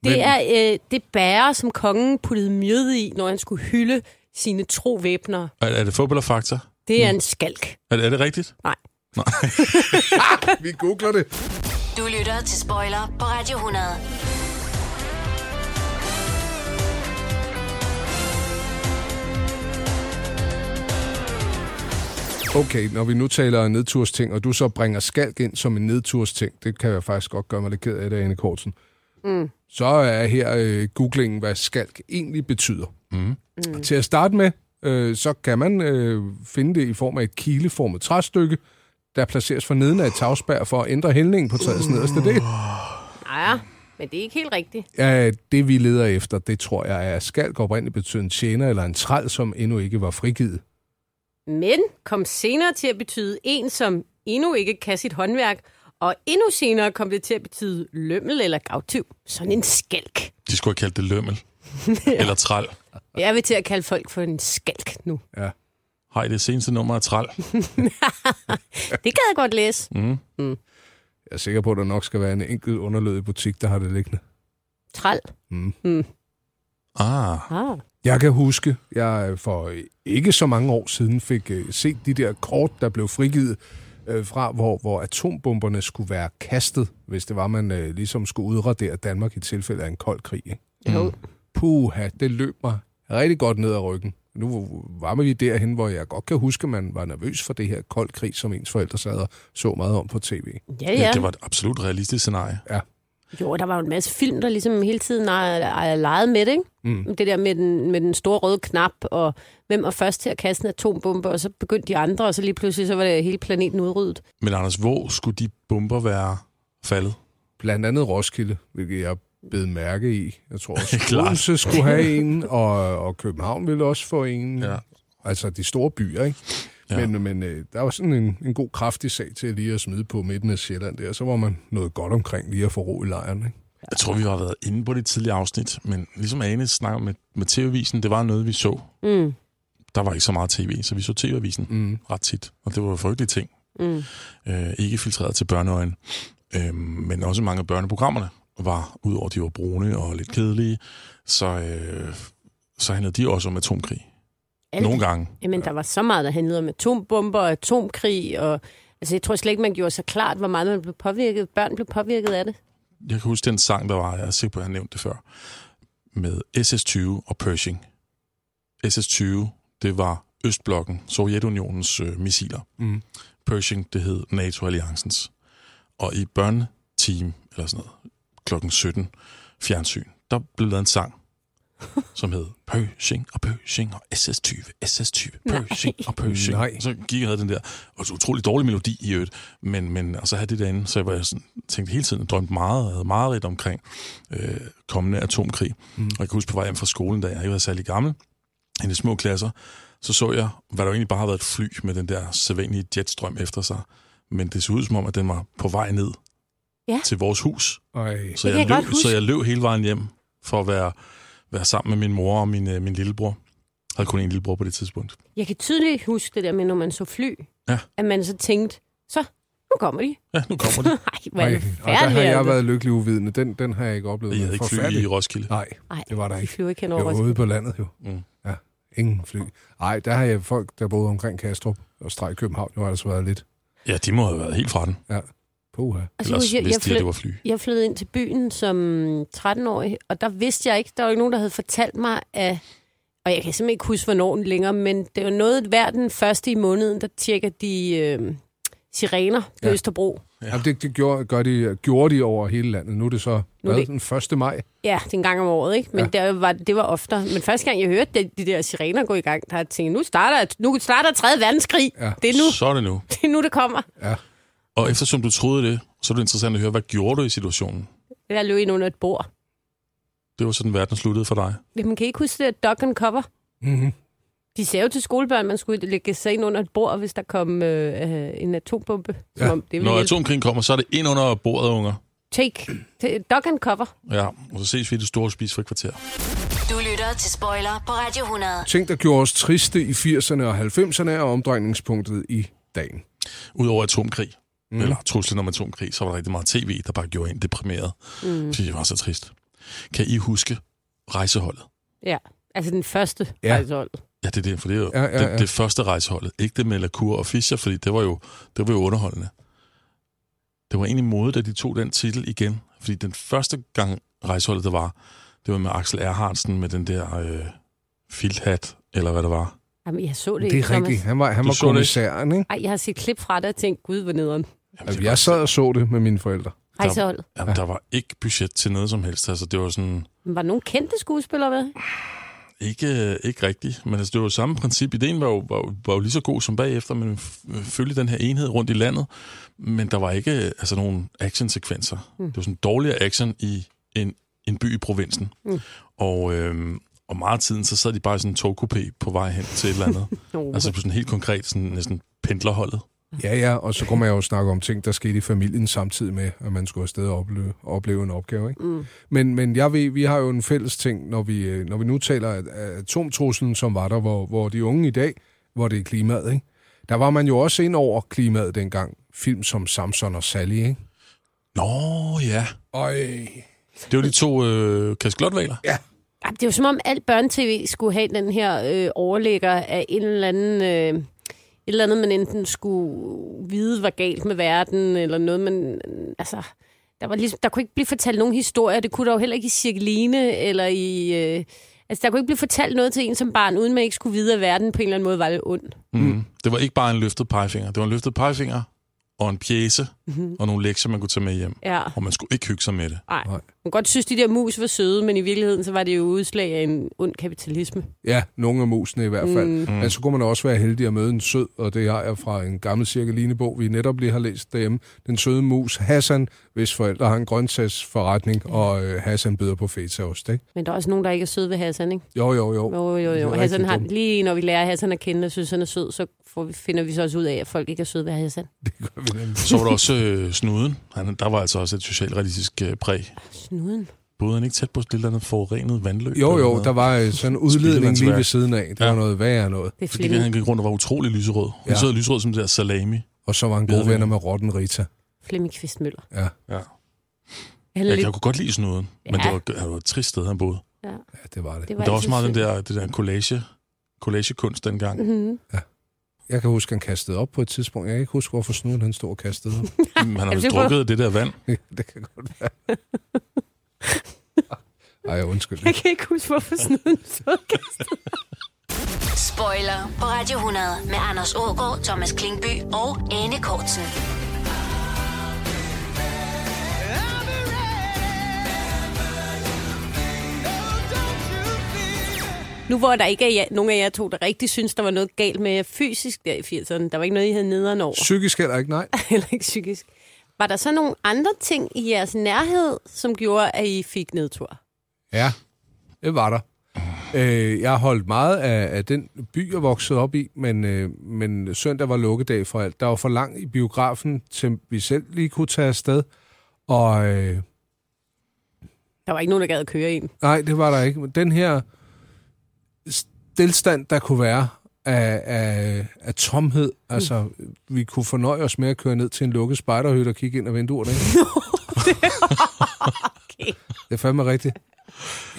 det. er øh, det bære, som kongen puttede mjød i, når han skulle hylde sine tro væbner.
Er, er det fodbold og fakta?
Det
Mm.
er en skalk.
Er, er det rigtigt?
Nej.
Nej.
Vi googler det.
Du lytter til Spoiler på Radio 100.
Okay, når vi nu taler nedtursting, og du så bringer skalk ind som en nedtursting, det kan jeg faktisk godt gøre mig lidt ked af det, Anne Kortsen.
Mm.
Så er her øh, googlingen, hvad skalk egentlig betyder.
Mm.
Mm. Til at starte med, øh, så kan man øh, finde det i form af et kileformet træstykke, der placeres for neden af et tagspær for at ændre hældningen på træets nederste del.
Ja, Men det er ikke helt rigtigt.
Ja, det vi leder efter, det tror jeg er skalk oprindeligt betyder en tjener eller en træl, som endnu ikke var frigivet.
Men kom senere til at betyde en, som endnu ikke kan sit håndværk, og endnu senere kom det til at betyde lømmel eller gavtyv. Sådan en skalk.
De skulle have kaldt det lømmel. Eller træl.
Jeg vil til at kalde folk for en skalk nu.
Ja.
Hej, det seneste nummer er træl.
Det gad jeg godt læse.
Mm.
Mm.
Jeg er sikker på, at der nok skal være en enkelt underlødig butik, der har det liggende.
Træl.
Mm.
Mm.
Ah.
Ah.
Jeg kan huske, jeg øh, for ikke så mange år siden fik øh, set de der kort, der blev frigivet øh, fra, hvor, hvor atombomberne skulle være kastet, hvis det var, man øh, ligesom skulle udradere Danmark i tilfælde af en kold krig. Ikke?
Jo.
Puha, det løb mig rigtig godt ned ad ryggen. Nu var vi derhen, hvor jeg godt kan huske, man var nervøs for det her kold krig, som ens forældre sad og så meget om på tv.
Ja, ja.
Det var et absolut realistisk scenarie.
Ja.
Jo, der var jo en masse film, der ligesom hele tiden har, har leget med det, ikke?
Mm.
Det der med den, med den store røde knap, og hvem var først til at kaste en atombombe, og så begyndte de andre, og så lige pludselig så var det hele planeten udryddet.
Men Anders, hvor skulle de bomber være faldet?
Blandt andet Roskilde, hvilket jeg bed mærke i. Jeg tror også,
Klart.
Odense skulle have en, og, og København ville også få en. Ja. Altså de store byer, ikke? Ja. Men, men øh, der var sådan en, en god kraftig sag til lige at smide på midten af Sjælland der, så var man noget godt omkring lige at få ro i lejren, ikke?
Jeg tror, vi har været inde på det tidligere afsnit, men ligesom Ane snakker med, med TV-avisen, det var noget, vi så.
Mm.
Der var ikke så meget tv, så vi så TV-avisen
mm.
ret tit, og det var jo frygtelige ting.
Mm.
Øh, ikke filtreret til børneøjen, øh, men også mange af børneprogrammerne var, udover at de var brune og lidt kedelige, så, øh, så handlede de også om atomkrig.
Alt.
Nogle gange.
Jamen, der var så meget, der handlede om atombomber og atomkrig, og altså, jeg tror slet ikke, man gjorde sig klart, hvor meget man blev påvirket, børn blev påvirket af det.
Jeg kan huske den sang, der var, jeg er sikker på, at jeg har nævnt det før, med SS-20 og Pershing. SS-20, det var Østblokken, Sovjetunionens øh, missiler.
Mm.
Pershing, det hed NATO-alliancens. Og i børneteam, eller sådan noget, klokken 17, fjernsyn, der blev lavet en sang, som hed Pershing og Pershing og SS-20, SS-20, Pershing Nej. og Pershing.
Nej.
Så gik jeg og havde den der, og så utrolig dårlig melodi i øvrigt, men, men og så havde det derinde, så jeg var sådan, tænkte hele tiden, drømte meget, og havde meget lidt omkring øh, kommende atomkrig.
Mm.
Mm. Og jeg kan huske på vej hjem fra skolen, da jeg ikke var særlig gammel, i de små klasser, så så jeg, hvad der jo egentlig bare havde været et fly med den der sædvanlige jetstrøm efter sig. Men det så ud som om, at den var på vej ned
Ja.
til vores hus.
Ej.
Så
Det kan
jeg,
jeg godt
løb,
huske.
så jeg løb hele vejen hjem for at være, være sammen med min mor og min, øh, min lillebror. Jeg havde kun en lillebror på det tidspunkt.
Jeg kan tydeligt huske det der med, når man så fly,
Ja.
at man så tænkte, så, nu kommer de.
Ja, nu kommer det.
Ej, hvor er det
og der har
forfærdeligt,
jeg
altså.
været lykkelig uvidende. Den, den har jeg ikke oplevet.
Jeg havde ikke fly i
Forfærdelig.
Roskilde.
Nej,
Ej,
det var der
de
ikke.
flyver ikke hen
Jeg
over
var
Roskilde.
ude på landet jo.
Mm.
Ja, ingen fly. Nej, der har jeg folk, der boede omkring Kastrup og streg København, jo har altså været lidt.
Ja, de må have været helt fra den.
Ja, puha.
Altså,
Ellers
jeg- jeg
vidste de, at
flyt-
det var fly.
Jeg flyttede ind til byen som 13-årig, og der vidste jeg ikke, der var ikke nogen, der havde fortalt mig, at, og jeg kan simpelthen ikke huske, hvornår den længere, men det var noget, hver den første i måneden, der tjekker de øh, sirener ved
Ja.
ja. Østerbro.
Ja. Jamen, det, det gjorde, gør de, gjorde de over hele landet. Nu er det så
Nu er
hvad,
det-
den 1. maj.
Ja, det er en gang om året, ikke? Men ja. der var, det var oftere. Men første gang, jeg hørte de, de der sirener gå i gang, der tænkte jeg, nu starter, nu starter 3. verdenskrig.
Ja.
Ja. Det, er nu,
Så er det nu.
det er nu, det kommer.
Og eftersom du troede det, så er det interessant at høre, hvad gjorde du i situationen?
Jeg løb ind under et bord.
Det var sådan, verden sluttede for dig.
Man kan I ikke huske det der duck and cover.
Mm-hmm.
De sagde jo til skolebørn, man skulle lægge sig ind under et bord, hvis der kom øh, øh, en atombombe. Som
Ja.
om det ville
Når
hjælpe.
atomkrigen kommer, så er det ind under bordet, unger.
Take. T- Dog and cover.
Ja, og så ses vi i det store spisfrikvarter.
Du lytter til Spoiler på Radio 100.
Ting, der gjorde os triste i 80'erne og 90'erne, er omdrejningspunktet i dagen.
Udover atomkrig, mm. eller truslen om atomkrig, så var der rigtig meget tv, der bare gjorde en deprimeret,
Mm.
mm. fordi det var så trist. Kan I huske rejseholdet?
Ja, altså den første
Ja.
ja. rejsehold.
Ja, det er det, for det er jo
Ja,
ja,
ja,
ja,
ja.
Det, det første rejseholdet. Ikke det med Lacour og Fischer, fordi det var jo, det var jo underholdende. Det var egentlig modet, at de tog den titel igen. Fordi den første gang rejseholdet, der var, det var med Axel Erhardsen med den der øh, filthat, eller hvad det var.
Jamen, jeg så det,
Det
ikke,
er rigtigt. Han var, han
Du
var
så det ikke?
kommissæren, ikke?
Ej, jeg har set klip fra det og tænkt, gud, hvor nederen.
Altså, jeg sad og så det med mine forældre.
Rejseholdet.
Jamen, der var ikke budget til noget som helst. Altså, det var sådan...
Men Var der nogen kendte skuespillere med?
Ikke, ikke rigtigt, men altså, det var jo samme princip. Ideen var jo, var, jo- var jo lige så god som bagefter, men f- følge den her enhed rundt i landet. Men der var ikke altså, nogen actionsekvenser. Mm. Det var sådan dårligere action i en, en by i provinsen. Mm. Og, øh, og meget af tiden, så sad de bare i sådan en togkupé på vej hen til et eller andet. altså på sådan helt konkret, sådan næsten pendlerholdet.
Ja, ja, og så kunne man jo snakke om ting, der skete i familien samtidig med, at man skulle afsted og opleve, opleve en opgave. Ikke? Mm. Men, men jeg ved, vi har jo en fælles ting, når vi, øh, når vi nu taler af af atomtruslen, som var der, hvor, hvor de unge i dag, hvor det er klimaet. Ikke? Der var man jo også ind over klimaet dengang. Film som Samson og Sally. Ikke?
Nå ja.
Øj.
Det var de to øh, kaskelotvaler.
Ja.
Ej, Det er jo som om, alt børnetv skulle have den her øh, overlægger af en eller anden... Øh, et eller andet, man enten skulle vide var galt med verden, eller noget, man... Altså, der, var ligesom, der kunne ikke blive fortalt nogen historier. Det kunne der jo heller ikke i Cirkeline, eller i... Øh, altså, der kunne ikke blive fortalt noget til en som barn, uden man ikke skulle vide, at verden på en eller anden måde var ond.
Mm. Det var ikke bare en løftet pegefinger. Det var en løftet pegefinger og en pjæse mm-hmm. og nogle lektier, man kunne tage med hjem.
Ja.
Og man skulle ikke hygge sig med det.
Nej. Man kan godt synes, de der mus var søde, men i virkeligheden, så var det jo udslag af en ond kapitalisme.
Ja, nogle af musene i hvert fald.
Mm.
Mm. Men så kunne man også være heldig at møde en sød, og det har jeg fra en gammel cirkelinebog, vi netop lige har læst derhjemme. Den søde mus Hassan, hvis forældre har en grøntsagsforretning, og øh, Hassan byder på fetaost, ikke?
Men der er også nogen, der ikke er søde ved Hassan, ikke?
Jo, jo, jo.
Jo, jo,
Det er
jo.
rigtig
Hassan har,
dumt.
lige når vi lærer Hassan at kende og synes, han er sød, så får vi, finder vi så også ud af, at folk ikke er søde ved Hassan.
Så var der også øh, snuden. Han, der var altså også et socialrealistisk øh, præg.
Snuden.
Både han ikke tæt på et eller andet forurenet vandløb?
Jo,
eller
jo,
noget?
der var øh, sådan en udledning lige ved
Spildevandsværk.
siden af. Det ja. var noget værre noget.
Det
Fordi han gik rundt og var utrolig lyserød. Hun
Ja.
ja. sidder lyserød som det der salami.
Og så var han gode venner med Rotten Rita.
Flemming Kvistmøller.
Ja.
Ja.
Han er
Jeg,
lidt-
jeg kunne godt lide snuden, ja. men
Ja.
det var, det var et trist sted, han boede.
Ja.
det var det.
Men der var også meget den der, det der collage, collagekunst dengang.
Mm-hmm.
Jeg kan huske, han kastede op på et tidspunkt. Jeg kan ikke huske, hvorfor snuden han stod og kastede op.
Jamen, Han har vist drukket det der vand.
det kan godt være. Ej, undskyld.
Jeg kan ikke huske, hvorfor snuden så kastet.
Spoiler på Radio 100 med Anders Ågaard, Thomas Klingby og Anne Kortsen.
Nu hvor der ikke er jer, nogen af jer to, der rigtig synes, der var noget galt med jer fysisk der i 80'erne, der var ikke noget, I havde nederen over,
Psykisk heller ikke, nej.
eller ikke psykisk. Var der så nogle andre ting i jeres nærhed, som gjorde, at I fik nedtur?
Ja, det var der. Øh, jeg har holdt meget af, af den by, jeg voksede op i, men, øh, men søndag var lukkedag for alt. Der var for langt i biografen, til vi selv lige kunne tage afsted. Og øh,
Der var ikke nogen, der gad at køre en.
nej, det var der ikke. Men den her stillstand, der kunne være af, af, af tomhed, mm. altså vi kunne fornøje os med at køre ned til en lukket spejderhytte og kigge ind ad vinduerne. Ikke? Det er fandme rigtigt.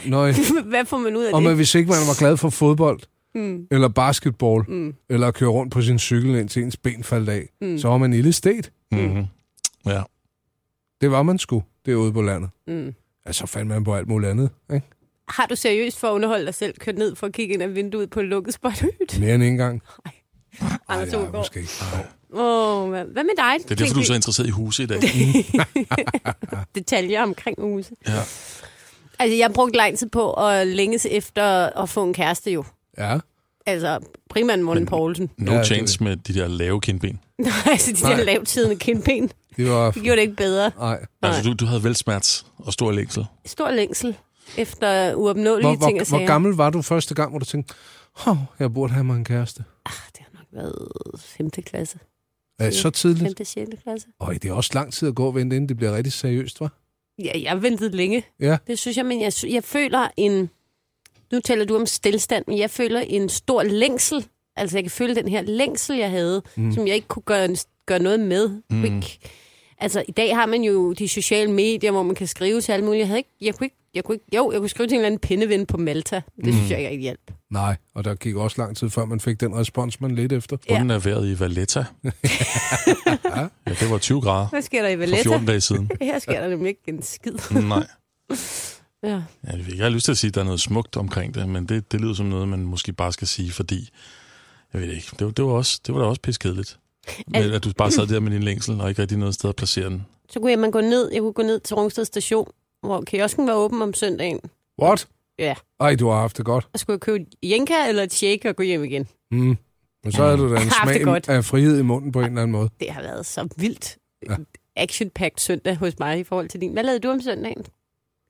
Nøj.
Hvad får man ud af
Og
det?
men hvis ikke man var glad for fodbold,
Mm.
eller basketball,
Mm.
mm. eller at køre rundt på sin cykel, indtil ens ben faldt af,
Mm.
mm. så var man ille sted.
Mm-hmm. Ja.
Det var man sgu, derude på landet.
Mm.
Altså fandt man på alt muligt andet, ikke?
Har du seriøst for at underholde dig selv kørt ned for at kigge ind ad vinduet på et lukket spothyt?
Mere end en gang.
Anders
Nej,
Ågaard.
måske ikke. Ej.
Åh, mand. hvad med dig?
Det er derfor, du er så interesseret i huse i dag.
Detaljer omkring huse.
Ja.
Altså, jeg brugte lang tid på at længes efter at få en kæreste jo.
Ja.
Altså, primært Morten Poulsen.
No
Ja,
ja,
det-
chance med de der lave kindben.
Nej, altså, de der
Nej.
lavtidende kindben.
Det var...
Det gjorde det ikke bedre.
Nej.
Altså, du, du havde velsmerts og stor længsel.
Stor længsel efter uopnåelige
Hvor,
ting og
hvor,
sager.
hvor gammel var du første gang, hvor du tænkte, hov, jeg burde have mig en kæreste?
Ah, Hvad? 5. klasse.
Er så tidligt?
5. 6. klasse.
Og det er også lang tid at gå og vente, inden det bliver rigtig seriøst, hva'?
Ja, jeg ventede længe.
Ja.
Det synes jeg, men jeg, sy- jeg føler en... Nu taler du om stillstand, men jeg føler en stor længsel. Altså, jeg kan føle den her længsel, jeg havde, mm.
Mm.
som jeg ikke kunne gøre, gøre noget med. Mm. Ikke? Altså, i dag har man jo de sociale medier, hvor man kan skrive til alt muligt. Jeg, havde ikke, jeg kunne ikke... Jeg kunne ikke, jo, jeg kunne skrive til en eller anden pindeven på Malta. Det mm. synes
Mm.
jeg ikke rigtig hjælp.
Nej, og der gik også lang tid, før man fik den respons, man ledte efter.
Ja.
Bunden er vejret i Valletta. ja, det var 20 grader.
Hvad sker der i Valletta?
For 14 dage siden.
Her sker der nemlig ikke en skid.
Nej.
Ja.
Ja, Jeg fik- jeg har lyst til at sige, at der er noget smukt omkring det, men det, det lyder som noget, man måske bare skal sige, fordi, jeg ved det ikke, det, var- det, var, også, det var da også piskedeligt. Men
Al-
at du bare sad der med din længsel, og ikke rigtig noget sted at placere den.
Så kunne jeg, man gå ned, jeg kunne gå ned til Rungsted station, hvor kiosken var åben om søndagen.
What?
Ja.
Ej, du har haft det godt.
Og skulle jeg købe et jenka eller et shake og gå hjem igen.
Mm. Men så havde du da en
Haft
smag
det godt.
af frihed i munden på en eller anden måde.
Det har været så vildt
Ja.
action-packed søndag hos mig i forhold til din. Hvad lavede du om søndagen?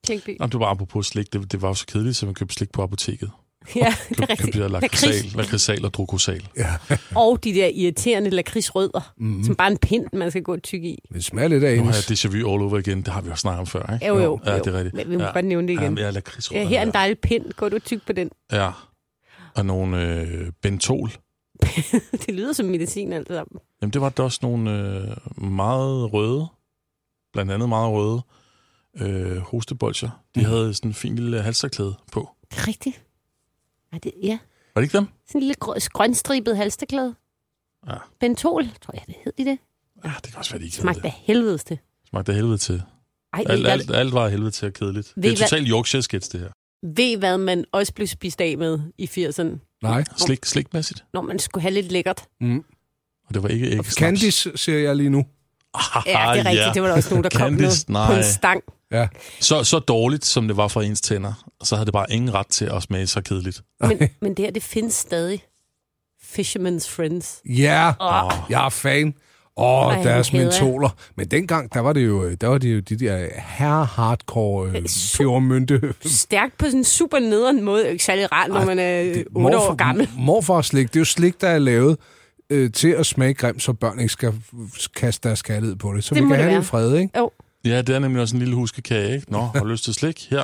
Klinkby.
Jamen, det var bare apropos slik. Det, det var jo så kedeligt, at man købte slik på apoteket.
Ja, det er
Køb, købte
rigtigt.
det der lakridsal,
Lakrids.
lakridsal og drukosal.
Ja.
Og de der irriterende lakridsrødder,
Mhm.
mm. som bare er en pind, man skal gå tyk i.
Det smager lidt af
Nu har
hendes.
jeg déjà vu all over igen. Det har vi også snakket om før, ikke?
Jo, jo,
Ja,
jo.
det er rigtigt.
Men vi må
ja.
godt nævne det igen.
Ja, men jeg er
Ja,
lakridsrødder.
her er en dejlig pind. Går du tyk på den?
Ja. Og nogle øh, bentol.
det lyder som medicin alt sammen.
Jamen, det var der også nogle øh, meget røde, blandt andet meget røde, øh, hostebolcher. De havde sådan en fin lille halsterklæde på.
Det er rigtigt. Ja, det, ja.
Var det ikke dem?
Sådan en lille grø- grønstribet halsterklæde.
Ja.
Bentol, tror jeg, det hed de det.
Ja, det kan også være, de ikke
Smagte af helvedes det.
Smagte af helvede til.
Ej,
alt,
ved I
alt, alt var af helvede til og kedeligt.
Ved
Det
I
er
hvad-
totalt Yorkshire sketch, det her.
Ved I, hvad man også blev spist af med i 80'erne?
Nej.
Slik, slikmæssigt.
Når man skulle have lidt lækkert.
Mm.
Og det var ikke æg.
Candice ser jeg lige nu.
Ja, det er
Ah,
rigtigt. Det var der også nogen, der kom med på en stang.
Ja.
Så, så dårligt, som det var for ens tænder, så havde det bare ingen ret til at smage så kedeligt.
Men, men det her, det findes stadig. Fisherman's Friends.
Ja,
Åh.
jeg er fan. Åh,
Ej,
oh, deres
han hader.
mentoler. Men dengang, der var det jo, øh, der var det jo de der herre-hardcore øh, pebermynte.
Stærkt på sådan en super nederen måde. Det er jo Ikke særlig rart, når man er 8 år gammel.
Morfar slik, det er jo slik, der er lavet øh, til at smage grimt, så børn ikke skal f- kaste deres kærlighed på det. Så
Det
det vi
må
kan
det
have
være.
lidt fred, ikke?
Jo.
Ja, det er nemlig også en lille huskekage, ikke? Nå, har du lyst til slik? Her.
Ja.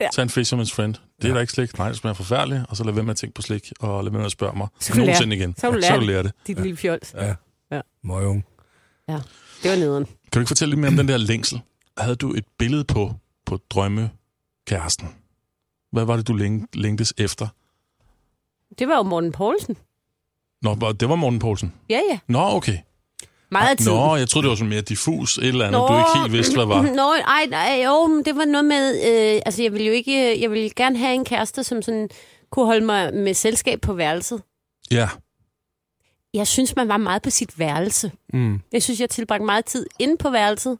Ja. Tag en Fisherman's Friend. Det er da ikke slik. Nej, det smager forfærdeligt. Og så lad være med at tænke på slik, og lad være med at spørge mig.
Så kan du
Nogensinde
lære-
igen.
Så kan du lære,
så du lærer det.
Dit lille fjols.
Ja.
ja.
Møgung.
Ja, det var nederen.
Kan du ikke fortælle lidt mere om den der længsel? Havde du et billede på, på drømmekæresten? Hvad var det, du læng- længtes efter?
Det var jo Morten Poulsen.
Nå, var- det var Morten Poulsen.
Ja, ja.
Nå, okay.
Meget af tiden.
Nå, jeg troede, det var sådan mere diffus, et eller andet, Nå. du ikke helt vidste, hvad var.
Nå, ej, nej, jo, men det var noget med, øh, altså jeg ville jo ikke, jeg ville gerne have en kæreste, som sådan kunne holde mig med selskab på værelset.
Ja.
Jeg synes, man var meget på sit værelse.
Mm.
Jeg synes, jeg tilbragte meget tid inde på værelset,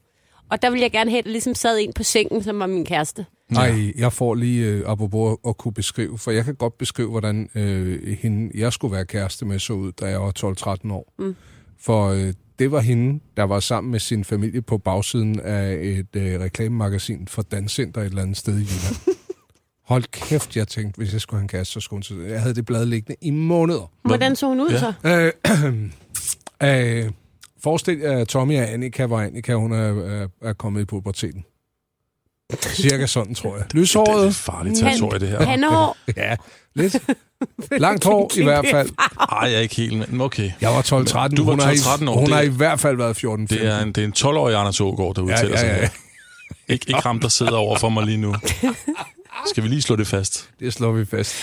og der ville jeg gerne have, at der ligesom sad en på sengen, som var min kæreste.
Nej, jeg får lige øh, apropos at kunne beskrive, for jeg kan godt beskrive, hvordan øh, hende, jeg skulle være kæreste med, så ud, da jeg var 12-13 år.
Mm.
For øh, det var hende, der var sammen med sin familie på bagsiden af et øh, reklamemagasin for Danscenter et eller andet sted i Jylland. Hold kæft, jeg tænkte, hvis jeg skulle have en kæreste, så skulle hun til Jeg havde det blad liggende i måneder.
Hvordan så hun ud
Ja.
så?
Øh, øh, forestil jer, at Tommy og Annika var Annika, hun er, er, er kommet på puberteten. Cirka sådan, tror jeg. Lyshåret. Det er lidt
farligt territorie, det her.
Pandehår.
ja, lidt. Langt hår i hvert fald.
Nej, jeg er ikke helt, men okay.
Jeg var 12-13.
Du var
Hun har i-
12-13 år.
Hun
det,
har
er,
i hvert fald været 14
det, er en, det er en 12-årig Anders Ågaard, der udtaler
ja,
sig
ja.
her. Ikke, ikke ham, der sidder over for mig lige nu. Skal vi lige slå det fast?
Det slår vi fast.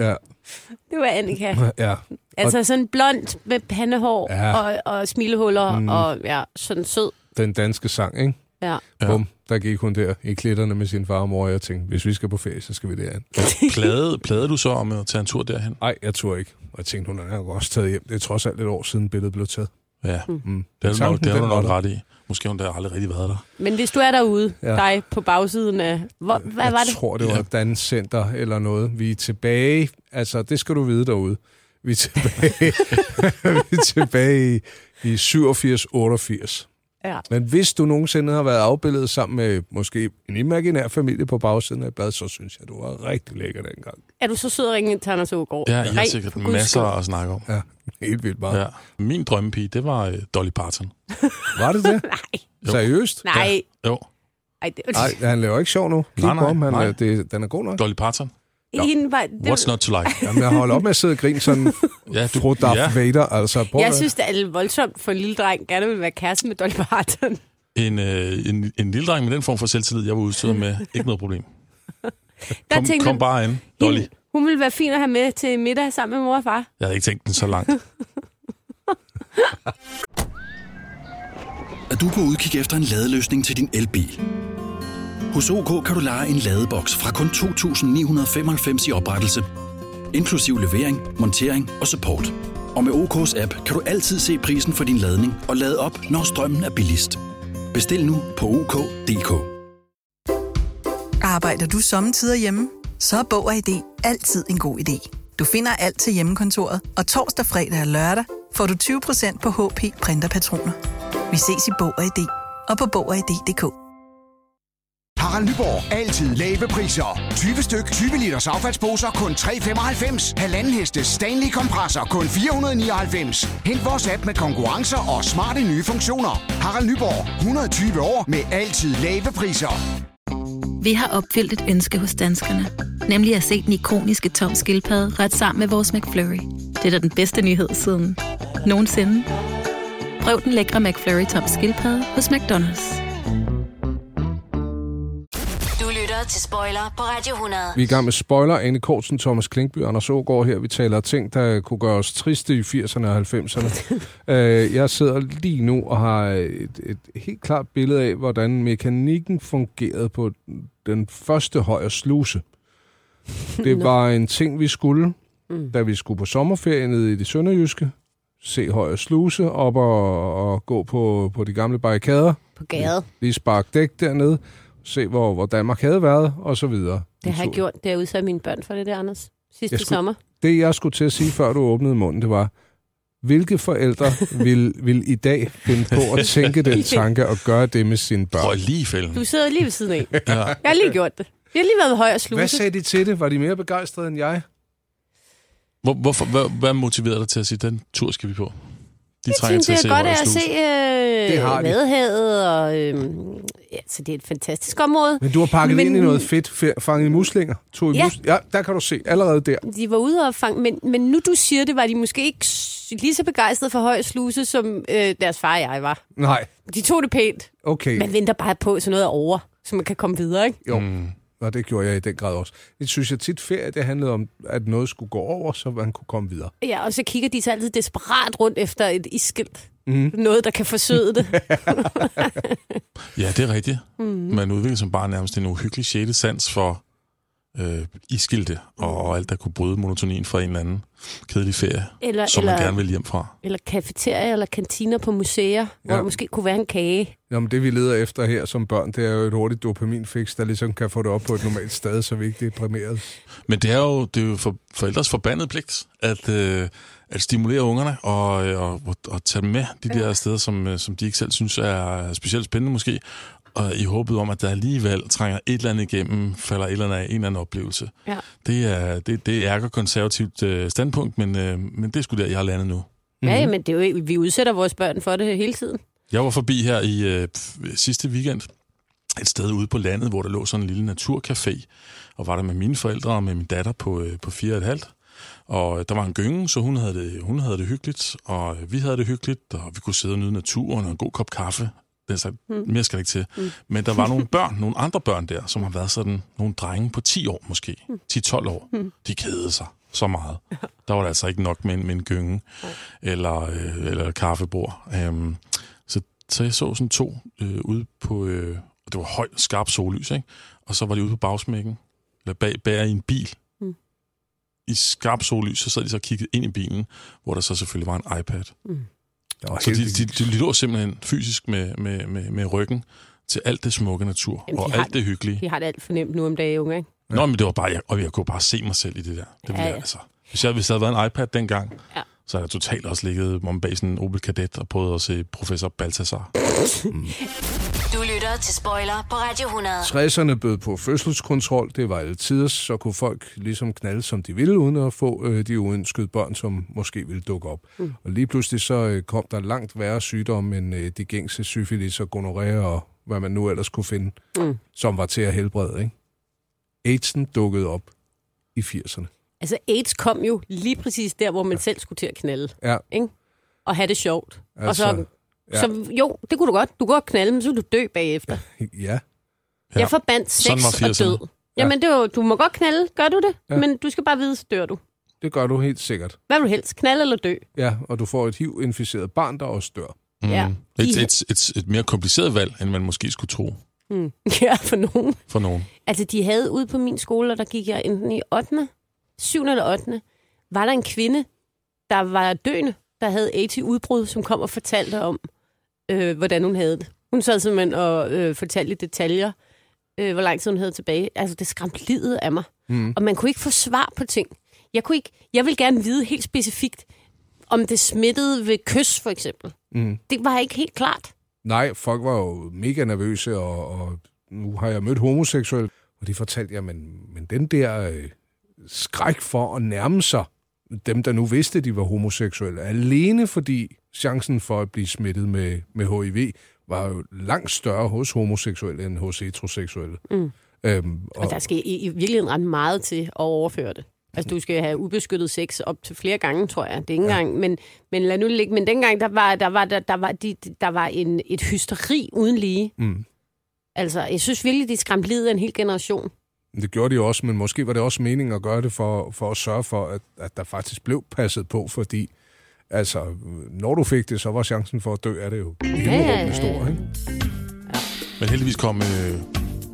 Ja.
Det var Annika.
ja.
Altså sådan blond med pandehår
Ja.
ja. og, og smilehuller
Mm.
mm. og ja, sådan sød.
Den danske sang, ikke?
Ja.
Ja. Bum, der gik hun der i klitterne med sin far og mor, og jeg tænkte, hvis vi skal på ferie, så skal vi derhen.
Plade, plade du så om at tage en tur derhen?
Nej, jeg tror ikke. Og jeg tænkte, hun er nok også taget hjem. Det er trods alt et år siden billedet blev taget.
Ja,
mm.
Det er du nok,
Tanken,
det er du
den
nok
var
ret i. Måske har hun der aldrig rigtig været der.
Men hvis du er derude,
Ja.
ja. dig på bagsiden af... Hvor, hvad var det?
Jeg tror, det var et danscenter eller noget. Vi er tilbage. Altså, det skal du vide derude. Vi er tilbage, vi er tilbage i, i 87-88.
Ja.
Men hvis du nogensinde har været afbildet sammen med måske en imaginær familie på bagsiden af et blad, så synes jeg, du var rigtig lækker dengang.
Er du så sød at ringe til Anders Ågaard?
Ja, jeg har
Ring,
sikkert
for Guds
masser
skyld.
at snakke om.
Ja, helt vildt meget.
Ja. Min drømmepige, det var øh, Dolly Parton.
Var det det?
Jo.
Seriøst?
Nej.
Ja. Jo.
Ej, det,
Nej, han laver ikke sjov nu. Kig
Nej, nej,
på ham, han,
nej.
øh, Det, den er god nok.
Dolly Parton.
Hende var, det,
What's not to like?
Jamen, jeg holder op med at sidde og grine sådan
ja,
du, fru Darth
ja.
Vader. Altså, prøv
jeg
at-
synes, det er lidt voldsomt for en lille dreng, gerne vil være kæreste med Dolly Parton.
En, øh, en, en lille dreng med den form for selvtillid, jeg var udstyret med, ikke noget problem.
Der
Kom,
tænkte
kom
man,
bare ind, Dolly.
hun ville være fin at have med til middag sammen med mor og far.
Jeg havde ikke tænkt den så langt.
Er du på udkig efter en ladeløsning til din elbil? Hos OK kan du lege en ladeboks fra kun 2.995 i oprettelse, inklusiv levering, montering og support. Og med OK's app kan du altid se prisen for din ladning og lade op, når strømmen er billigst. Bestil nu på OK.dk.
Arbejder du sommetider hjemme? Så er Bog og ID altid en god idé. Du finder alt til hjemmekontoret, og torsdag, fredag og lørdag får du 20% på HP Printerpatroner. Vi ses i Bog og ID og på Bog og ID.dk.
Harald Nyborg. Altid lave priser. 20 styk, 20 liters affaldsposer kun 3,95. Halvanden heste Stanley kompresser kun 499. Hent vores app med konkurrencer og smarte nye funktioner. Harald Nyborg. 120 år med altid lave priser.
Vi har opfyldt et ønske hos danskerne. Nemlig at se den ikoniske tom skildpadde ret sammen med vores McFlurry. Det er da den bedste nyhed siden nogensinde. Prøv den lækre McFlurry tom skildpadde hos McDonald's.
Du lytter til Spoiler på Radio 100.
Vi er i gang med spoiler. Anne Kortsen, Thomas Klinkby og Anders Ågaard her. Vi taler om ting, der kunne gøre os triste i 80'erne og 90'erne. Øh, jeg sidder lige nu og har et, et helt klart billede af, hvordan mekanikken fungerede på den første højre sluse. Det
Nå.
var en ting, vi skulle,
Mm.
mm. da vi skulle på sommerferie nede i det sønderjyske. Se højre sluse op og, og gå på, på de gamle barrikader.
På gade.
Lige spark dæk dernede. Se, hvor, hvor Danmark havde været, og så videre.
Det har jeg gjort. Det har jeg udsat mine børn for det der, Anders. Sidste
Jeg
skulle...
skulle-
sommer.
Det, jeg skulle til at sige, før du åbnede munden, det var, hvilke forældre vil, vil i dag finde på at tænke den tanke og gøre det med sine børn? Prøv
lige fælden.
Du sidder lige ved siden af.
Ja.
Jeg har lige gjort det. Jeg har lige været ved høj og sluse.
Hvad sagde de til det? Var de mere begejstrede end jeg?
Hvor, hvorfor, hvad, hvad motiverede dig til at sige, den tur skal vi på? De
Jeg synes, det er godt af at se
Det
øh,
har de.
Vadehavet, og øh, ja, så det er et fantastisk område.
Men du har pakket men...
Men-
ind i noget fedt, fe- fanget i muslinger. Tog i
Ja.
ja. Mus... ja, der kan du se allerede der.
De var ude og fange, men, men nu du siger det, var de måske ikke s- lige så begejstrede for høj sluse, som øh, deres far og jeg var.
Nej,
De tog det pænt.
okay.
Man venter bare på, at sådan noget er over, så man kan komme videre, ikke?
Jo, mm. og det gjorde jeg i den grad også. Jeg synes, jeg tit ferie, det handlede om, at noget skulle gå over, så man kunne komme videre.
Ja, og så kigger de så altid desperat rundt efter et iskilt.
Mm.
Noget, der kan forsøde det.
Ja, det er rigtigt.
Mhm.
Mm. Man udvikler som bare nærmest en uhyggelig sjette sans for øh, iskilte og, og alt, der kunne bryde monotonien fra en eller anden kedelig ferie,
Eller-
som man
eller-
gerne vil hjem fra.
eller kafeterier eller kantiner på museer, hvor
Ja.
der måske kunne være en kage.
Jamen, det vi leder efter her som børn, det er jo et hurtigt dopaminfix, der ligesom kan få det op på et normalt sted, så vi ikke er deprimeret.
Men det er jo, det er jo for, forældres forbandede pligt at, øh, at stimulere ungerne og, øh, og, og, og tage dem med de der steder, som, øh, som de ikke selv synes er specielt spændende måske, og i håbet om, at der alligevel trænger et eller andet igennem, falder et eller andet af en eller anden oplevelse.
Ja.
Det er det, det er et konservativt øh, standpunkt, men, øh, men det er sgu der, jeg har landet nu.
Mhm.
Mm-hmm. Ja, men det er jo, vi udsætter vores børn for det hele tiden.
Jeg var forbi her i øh, pf- sidste weekend et sted ude på landet, hvor der lå sådan en lille naturcafé, og var der med mine forældre og med min datter på, øh, på fire og et halvt. Og øh, der var en gynge, så hun havde, det, hun havde det hyggeligt, og øh, vi havde det hyggeligt, og vi kunne sidde og nyde naturen og en god kop kaffe. Den sag,
Mm.
mere skal det ikke til.
Mm.
Men der var nogle børn, nogle andre børn der, som har været sådan nogle drenge på 10 år måske, 10-12 år.
Mm.
De kedede sig så meget. Der var det altså ikke nok med en, med en gynge eller, øh, eller et kaffebord. Øhm, så, så jeg så sådan to øh, ude på, øh, og det var højt, skarpt sollys, ikke? og så var de ude på bagsmækken, eller bag, bag i en bil.
Mm.
Mm. I skarpt sollys, så sad de så og kiggede ind i bilen, hvor der så selvfølgelig var en iPad.
Mm.
Så de, de, de, de lå simpelthen fysisk med, med, med, med ryggen til alt det smukke natur
Jamen,
Jamen, og
de har
alt det hyggelige.
De har det alt for nemt nu om dagen, unge, ikke?
Ja. Nå, men det var bare, jeg, og jeg kunne bare se mig selv i det der. Det
Ja,
ja,
ja.
ja. Altså. Hvis, jeg, hvis der havde været en iPad dengang,
Ja.
ja. så havde jeg totalt også ligget om bag sådan en Opel Kadett og prøvet at se Professor Baltasar. mm.
Du lytter til Spoiler på Radio 100.
60'erne bød på fødselskontrol, det var alle tider, så kunne folk ligesom knalde, som de ville, uden at få øh, de uønskede børn, som måske ville dukke op.
Mm.
Mm. Og lige pludselig så øh, kom der langt værre sygdomme end øh, de gængse syfilis og gonorrhea og hvad man nu ellers kunne finde,
Mm.
mm. som var til at helbrede. Ikke? AIDS'en dukkede op i 80'erne.
Altså, AIDS kom jo lige præcis der, hvor man ja. selv skulle til at knalde.
Ja.
Ikke? Og have det sjovt. Altså, og så,
Altså,
ja.
ja.
så, jo, det kunne du godt. Du kunne godt knalde, men så ville du dø bagefter.
Ja.
Ja. Jeg forbandt
Sådan
sex
var
og
80'erne.
død. Jamen, det var, du må godt knalde, gør du det? Ja.
Ja.
Men du skal bare vide, så dør du.
Det gør du helt sikkert.
Hvad vil du helst? Knalde eller dø?
Ja, og du får et HIV-inficeret barn, der også dør.
Ja.
Et, et, et, et mere kompliceret valg, end man måske skulle tro
Mm. Ja, for nogen.
for nogen.
Altså, de havde ude på min skole, og der gik jeg enten i 8., 7. eller 8., var der en kvinde, der var døende, der havde AIDS i udbrud, som kom og fortalte om, øh, hvordan hun havde det. Hun sad simpelthen og øh, fortalte i detaljer, øh, hvor lang tid hun havde tilbage. Altså, det skræmte livet af mig.
Mm.
Og man kunne ikke få svar på ting. Jeg, kunne ikke, jeg ville gerne vide helt specifikt, om det smittede ved kys, for eksempel.
Mm.
Det var ikke helt klart.
Nej, folk var jo mega nervøse og, og nu har jeg mødt homoseksuelle, og de fortalte, jamen, men den der øh, skræk for at nærme sig dem, der nu vidste, de var homoseksuelle, alene fordi chancen for at blive smittet med, med HIV
Mm.
var jo langt større hos homoseksuelle end hos heteroseksuelle.
Mm.
Øhm,
Og der skal i, i virkeligheden ret meget til at overføre det. Altså, du skal have ubeskyttet sex op til flere gange, tror jeg. Det er ikke ja. engang, men, men lad nu det ligge. Men dengang, der var, der var, der, der var, de, der var en, et hysteri uden lige.
Mm.
Altså, jeg synes virkelig, de skræmte livet af en hel generation.
Det gjorde de jo også, men måske var det også meningen at gøre det for, for at sørge for, at, at der faktisk blev passet på, fordi altså, når du fik det, så var chancen for at dø af det jo himmelråbende stor, ikke?
Men heldigvis kom øh,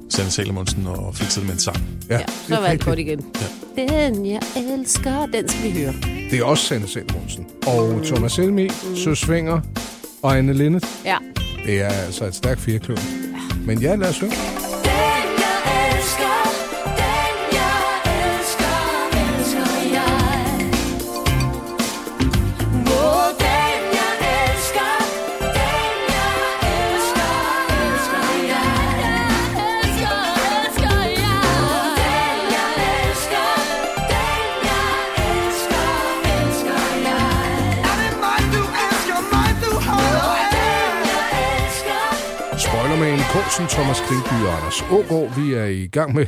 Sanne Salomonsen og fikset med en sang.
Ja,
Så var alt godt igen. Ja. Den, jeg elsker, den skal vi høre.
Det er også Sanne Salmonsen. Og Thomas Elmi, mm. Søs Svinger og Anne Linnet.
Ja.
Det er altså et stærkt firkløver. Men ja, lad os høre. Spoiler med en kunsten Thomas Klingby og Anders Ågaard. Vi er i gang med,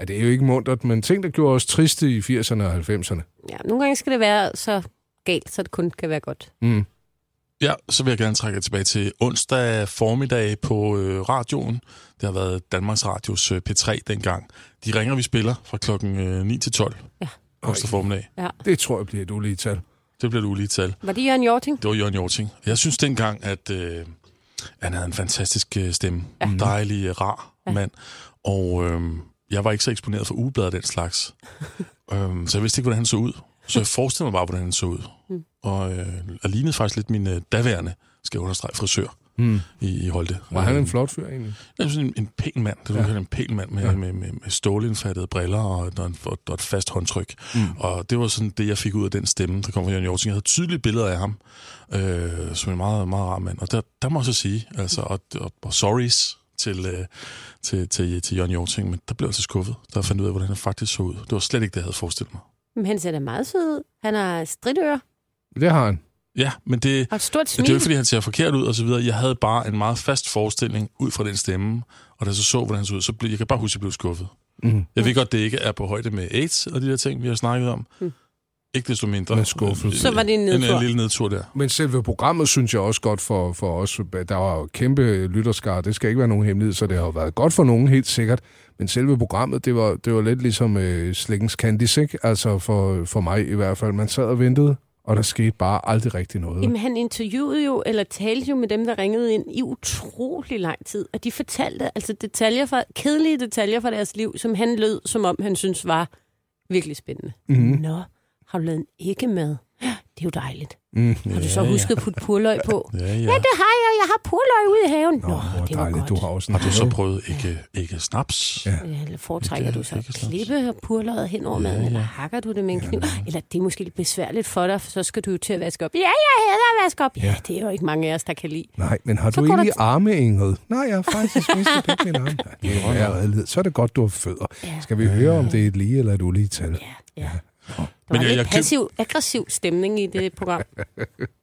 ja, det er jo ikke muntert, men ting, der gjorde os triste i 80'erne og 90'erne.
Ja, nogle gange skal det være så galt, så det kun kan være godt.
Mm.
Ja, så vil jeg gerne trække jer tilbage til onsdag formiddag på øh, radioen. Det har været Danmarks Radios øh, P3 dengang. De ringer, vi spiller fra klokken øh, 9 til 12.
Ja.
Onsdag formiddag.
Ja.
Det tror jeg bliver et ulige tal.
Det bliver et ulige tal.
Var det Jørgen Jorting?
Det var Jørgen Jorting. Jeg synes dengang, at øh, han havde en fantastisk øh, stemme. Ja. Dejlig, øh, rar ja. mand. Og øh, jeg var ikke så eksponeret for ugeblad af den slags. øhm, så jeg vidste ikke, hvordan han så ud. Så jeg forestillede mig bare, hvordan han så ud. Mm. Og, øh, og lignede faktisk lidt min øh, daværende, skal jeg understrege, frisør
Mm.
i, i Holte.
Var han en flot fyr egentlig?
Jeg synes, en, en pæn mand. Det
Ja.
er ja. en pæn mand med,
Ja.
ja. med, med, med stålindfattede briller og, et- og, en- og, og et fast håndtryk.
Mm.
Mm. Og det var sådan det, jeg fik ud af den stemme, der kom fra Jørgen Jorting. Jeg havde tydelige billeder af ham, øh, som en meget, meget rar mand. Og der, der må jeg så sige, altså, og, og, og sorries til, øh, til, til, til Jørgen Jorting, men der blev jeg så skuffet, da jeg fandt ud af, hvordan han faktisk så ud. Det var slet ikke det, jeg havde forestillet mig.
Men han ser da meget sød ud. Han har stridører
Det har han.
Ja, men det,
og et stort
det er jo
smil.
ikke, fordi han ser forkert ud og så videre. Jeg havde bare en meget fast forestilling ud fra den stemme, og da jeg så så, hvordan han så ud, så blev, jeg kan bare huske, at jeg blev skuffet.
Mm.
Jeg ved godt, det ikke er på højde med AIDS og de der ting, vi har snakket om.
Mm.
Ikke desto mindre.
Men skuffelse.
Øh,
Så var det en nedtur.
En, en lille nedtur der.
Men selve programmet synes jeg også godt for, for os. Der var jo kæmpe lytterskar, det skal ikke være nogen hemmelighed, så det har jo været godt for nogen helt sikkert. Men selve programmet, det var, det var lidt ligesom øh, Slikkens Candice, ikke? Altså for, for mig i hvert fald. Man sad og ventede, og der skete bare aldrig rigtig noget.
Jamen, han interviewede jo, eller talte jo med dem, der ringede ind i utrolig lang tid, og de fortalte altså detaljer fra, kedelige detaljer fra deres liv, som han lød, som om han synes var virkelig spændende.
Mhm.
Nå, har du lavet en æggemad? Det er jo dejligt.
Mm.
Har du så husket at putte purløg på?
Ja, ja.
ja, det har jeg. Jeg har purløg ude i haven. Nå, Nå det var
dejligt, du har også
Har du så prøvet ikke, ikke snaps?
Ja.
Eller foretrækker
Ikke-
du så
ikke
at klippe purløget hen over
Ja,
maden, eller
ja.
hakker du det med en kniv? Eller det er måske lidt besværligt for dig, for så skal du jo til at vaske op. Ja, jeg hader at vaske op. Ja,
Ja.
det er jo ikke mange af os, der kan lide.
Nej, men har
Så
du
går
egentlig
der-
arme, Ingrid? Nej, jeg har faktisk mistet begge mine arme. Nej, det er jo ærgerlighed. Så er det godt, du har fødder. Ja. Skal vi høre, om det er et lige eller et ulige tal? Ja.
Der var
Men jeg-
lidt
jeg køb-
passiv-aggressiv stemning i det program.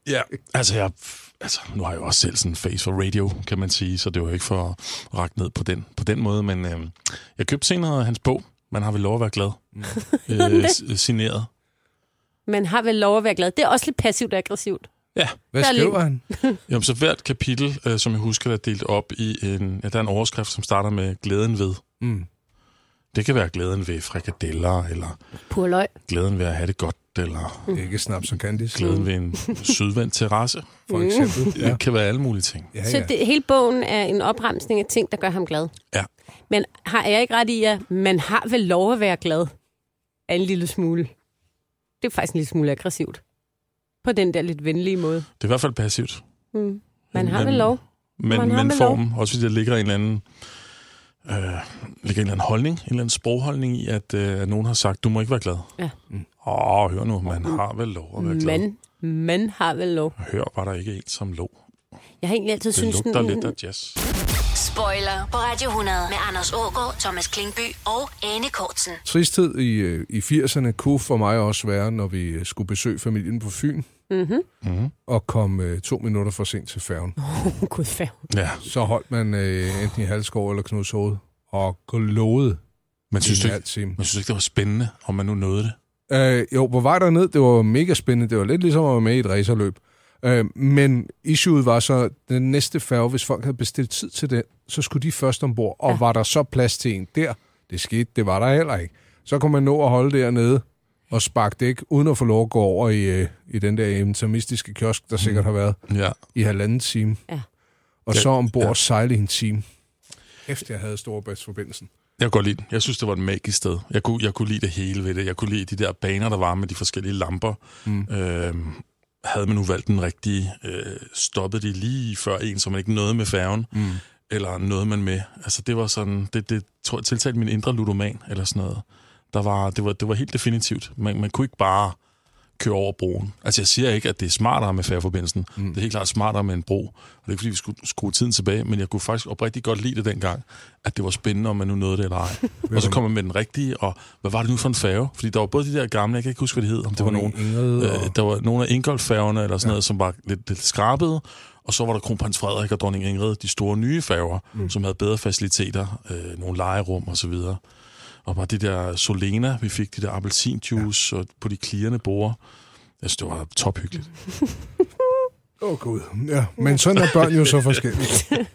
Ja, altså, jeg, altså nu har jeg jo også selv sådan en face for radio, kan man sige, så det var jo ikke for at række ned på den, på den måde, men øh, jeg købte senere hans bog, Man har vel lov at være glad, øh, s- signeret.
Man har vel lov at være glad. Det er også lidt passivt-aggressivt.
Ja.
Hvad Der er skriver lidt-
han?
Jamen, så hvert kapitel, øh, som jeg husker, der er delt op i en... Ja, der er en overskrift, som starter med glæden ved.
Mm.
Det kan være glæden ved frikadeller, eller
Purløg.
glæden ved at have det godt, eller
Mm.
Ikke snaps og candice.
glæden ved en sydvendt terrasse.
For eksempel.
Det kan være alle mulige ting.
Ja,
Mm. Så det, hele bogen er en opremsning af ting, der gør ham glad.
Ja.
Men har jeg ikke ret i, at man har vel lov at være glad? Er en lille smule. Det er faktisk en lille smule aggressivt. På den der lidt venlige måde.
Det er i hvert fald passivt.
Mm. Man har vel
Men-
lov.
Men,
Man har
men
vel
formen, også fordi der ligger en eller anden... Øh, ligger en eller anden holdning, en eller anden sprogholdning i, at, øh, at nogen har sagt, du må ikke være glad.
Ja. Mm.
Mm. Åh, hør nu, man har vel lov at være glad.
Man, man har vel lov.
Hør, var der ikke en, som lå.
Jeg har egentlig altid
Det
syntes...
lugter lidt af jazz.
Spoiler på Radio 100 med Anders Ågaard, Thomas Klingby og Anne Kortsen.
Tristhed i, øh, i 80'erne kunne for mig også være, når vi øh, skulle besøge familien på Fyn
Mm-hmm.
mm. og kom øh, to minutter for sent til færgen.
Oh, gud færd.
Ja.
Så holdt man øh, enten i halskår eller knus hoved og glåede.
Man synes,
i
du
en
ikke-
halv time.
man synes ikke, det var spændende, om man nu nåede det.
Øh, jo, på vej derned, det var mega spændende. Det var lidt ligesom at være med i et racerløb. Øh, men issueet var så, den næste færge, hvis folk havde bestilt tid til den, så skulle de først ombord. Og ja. var der så plads til en der? Det skete, det var der heller ikke. Så kunne man nå at holde dernede og sparke dæk, uden at få lov at gå over i, øh, i den der intermistiske kiosk, der sikkert har været
Ja.
i halvanden time.
Ja.
Og
Ja,
så ombord
ja.
ja. sejle i en time. Efter jeg havde Storebæltsforbindelsen.
Jeg kunne godt lide den. Jeg synes, det var et magisk sted. Jeg kunne, jeg kunne lide det hele ved det. Jeg kunne lide de der baner, der var med de forskellige lamper. Mm. Øh, havde man nu valgt den rigtige, øh, stoppede de lige før en, så man ikke nåede med færgen, mm. eller nåede man med. Altså, det var sådan, det, det tror jeg tiltalte min indre ludoman, eller sådan noget. Der var, det, var, det var helt definitivt. Man, man kunne ikke bare køre over broen. Altså, jeg siger ikke, at det er smartere med færgeforbindelsen. Mm. Det er helt klart smartere med en bro. Og det er ikke, fordi vi skulle skrue tiden tilbage, men jeg kunne faktisk oprigtigt godt lide det dengang, at det var spændende, om man nu nåede det eller ej. og så kom man med den rigtige, og hvad var det nu for en færge? Fordi der var både de der gamle, jeg kan ikke huske, hvad det hed, om det var nogen,
Ingrid og-
øh, der var nogle af Ingolf-færgerne eller sådan ja. noget, som var lidt, lidt skrabede, og så var der kronprins Frederik og dronning Ingrid, de store nye færger, mm. som havde bedre faciliteter, øh, nogle legerum og så videre. Og bare det der Solena, vi fik de der appelsinjuice ja. og på de klirrende borde. Jeg synes, Altså, det var tophyggeligt.
Åh oh, gud, ja. Men sådan er børn jo så forskellige.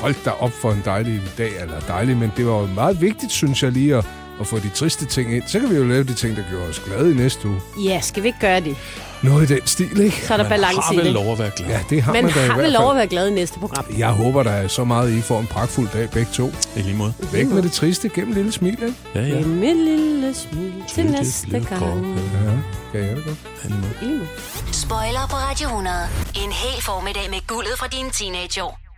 Hold da op for en dejlig dag, eller dejlig, men det var jo meget vigtigt, synes jeg lige, at, at få de triste ting ind. Så kan vi jo lave de ting, der gjorde os glade i næste uge.
Ja, skal vi ikke gøre det?
Noget i den stil, ikke? altså,
Så er der Man balance har i vel det. lov
at være glad.
Ja, det har
Man
man, da i
har
hvert
vel
fald.
lov at være glad i næste program.
Jeg håber, der er så meget, I får en pragtfuld dag begge to.
I lige måde.
Væk med det triste gennem en lille smil, ikke?
Ja,
Med mit er lille smil til næste gang.
Ja, kan jeg det godt.
I lige måde.
Spoiler på Radio 100. En hel formiddag med guldet fra dine teenageår.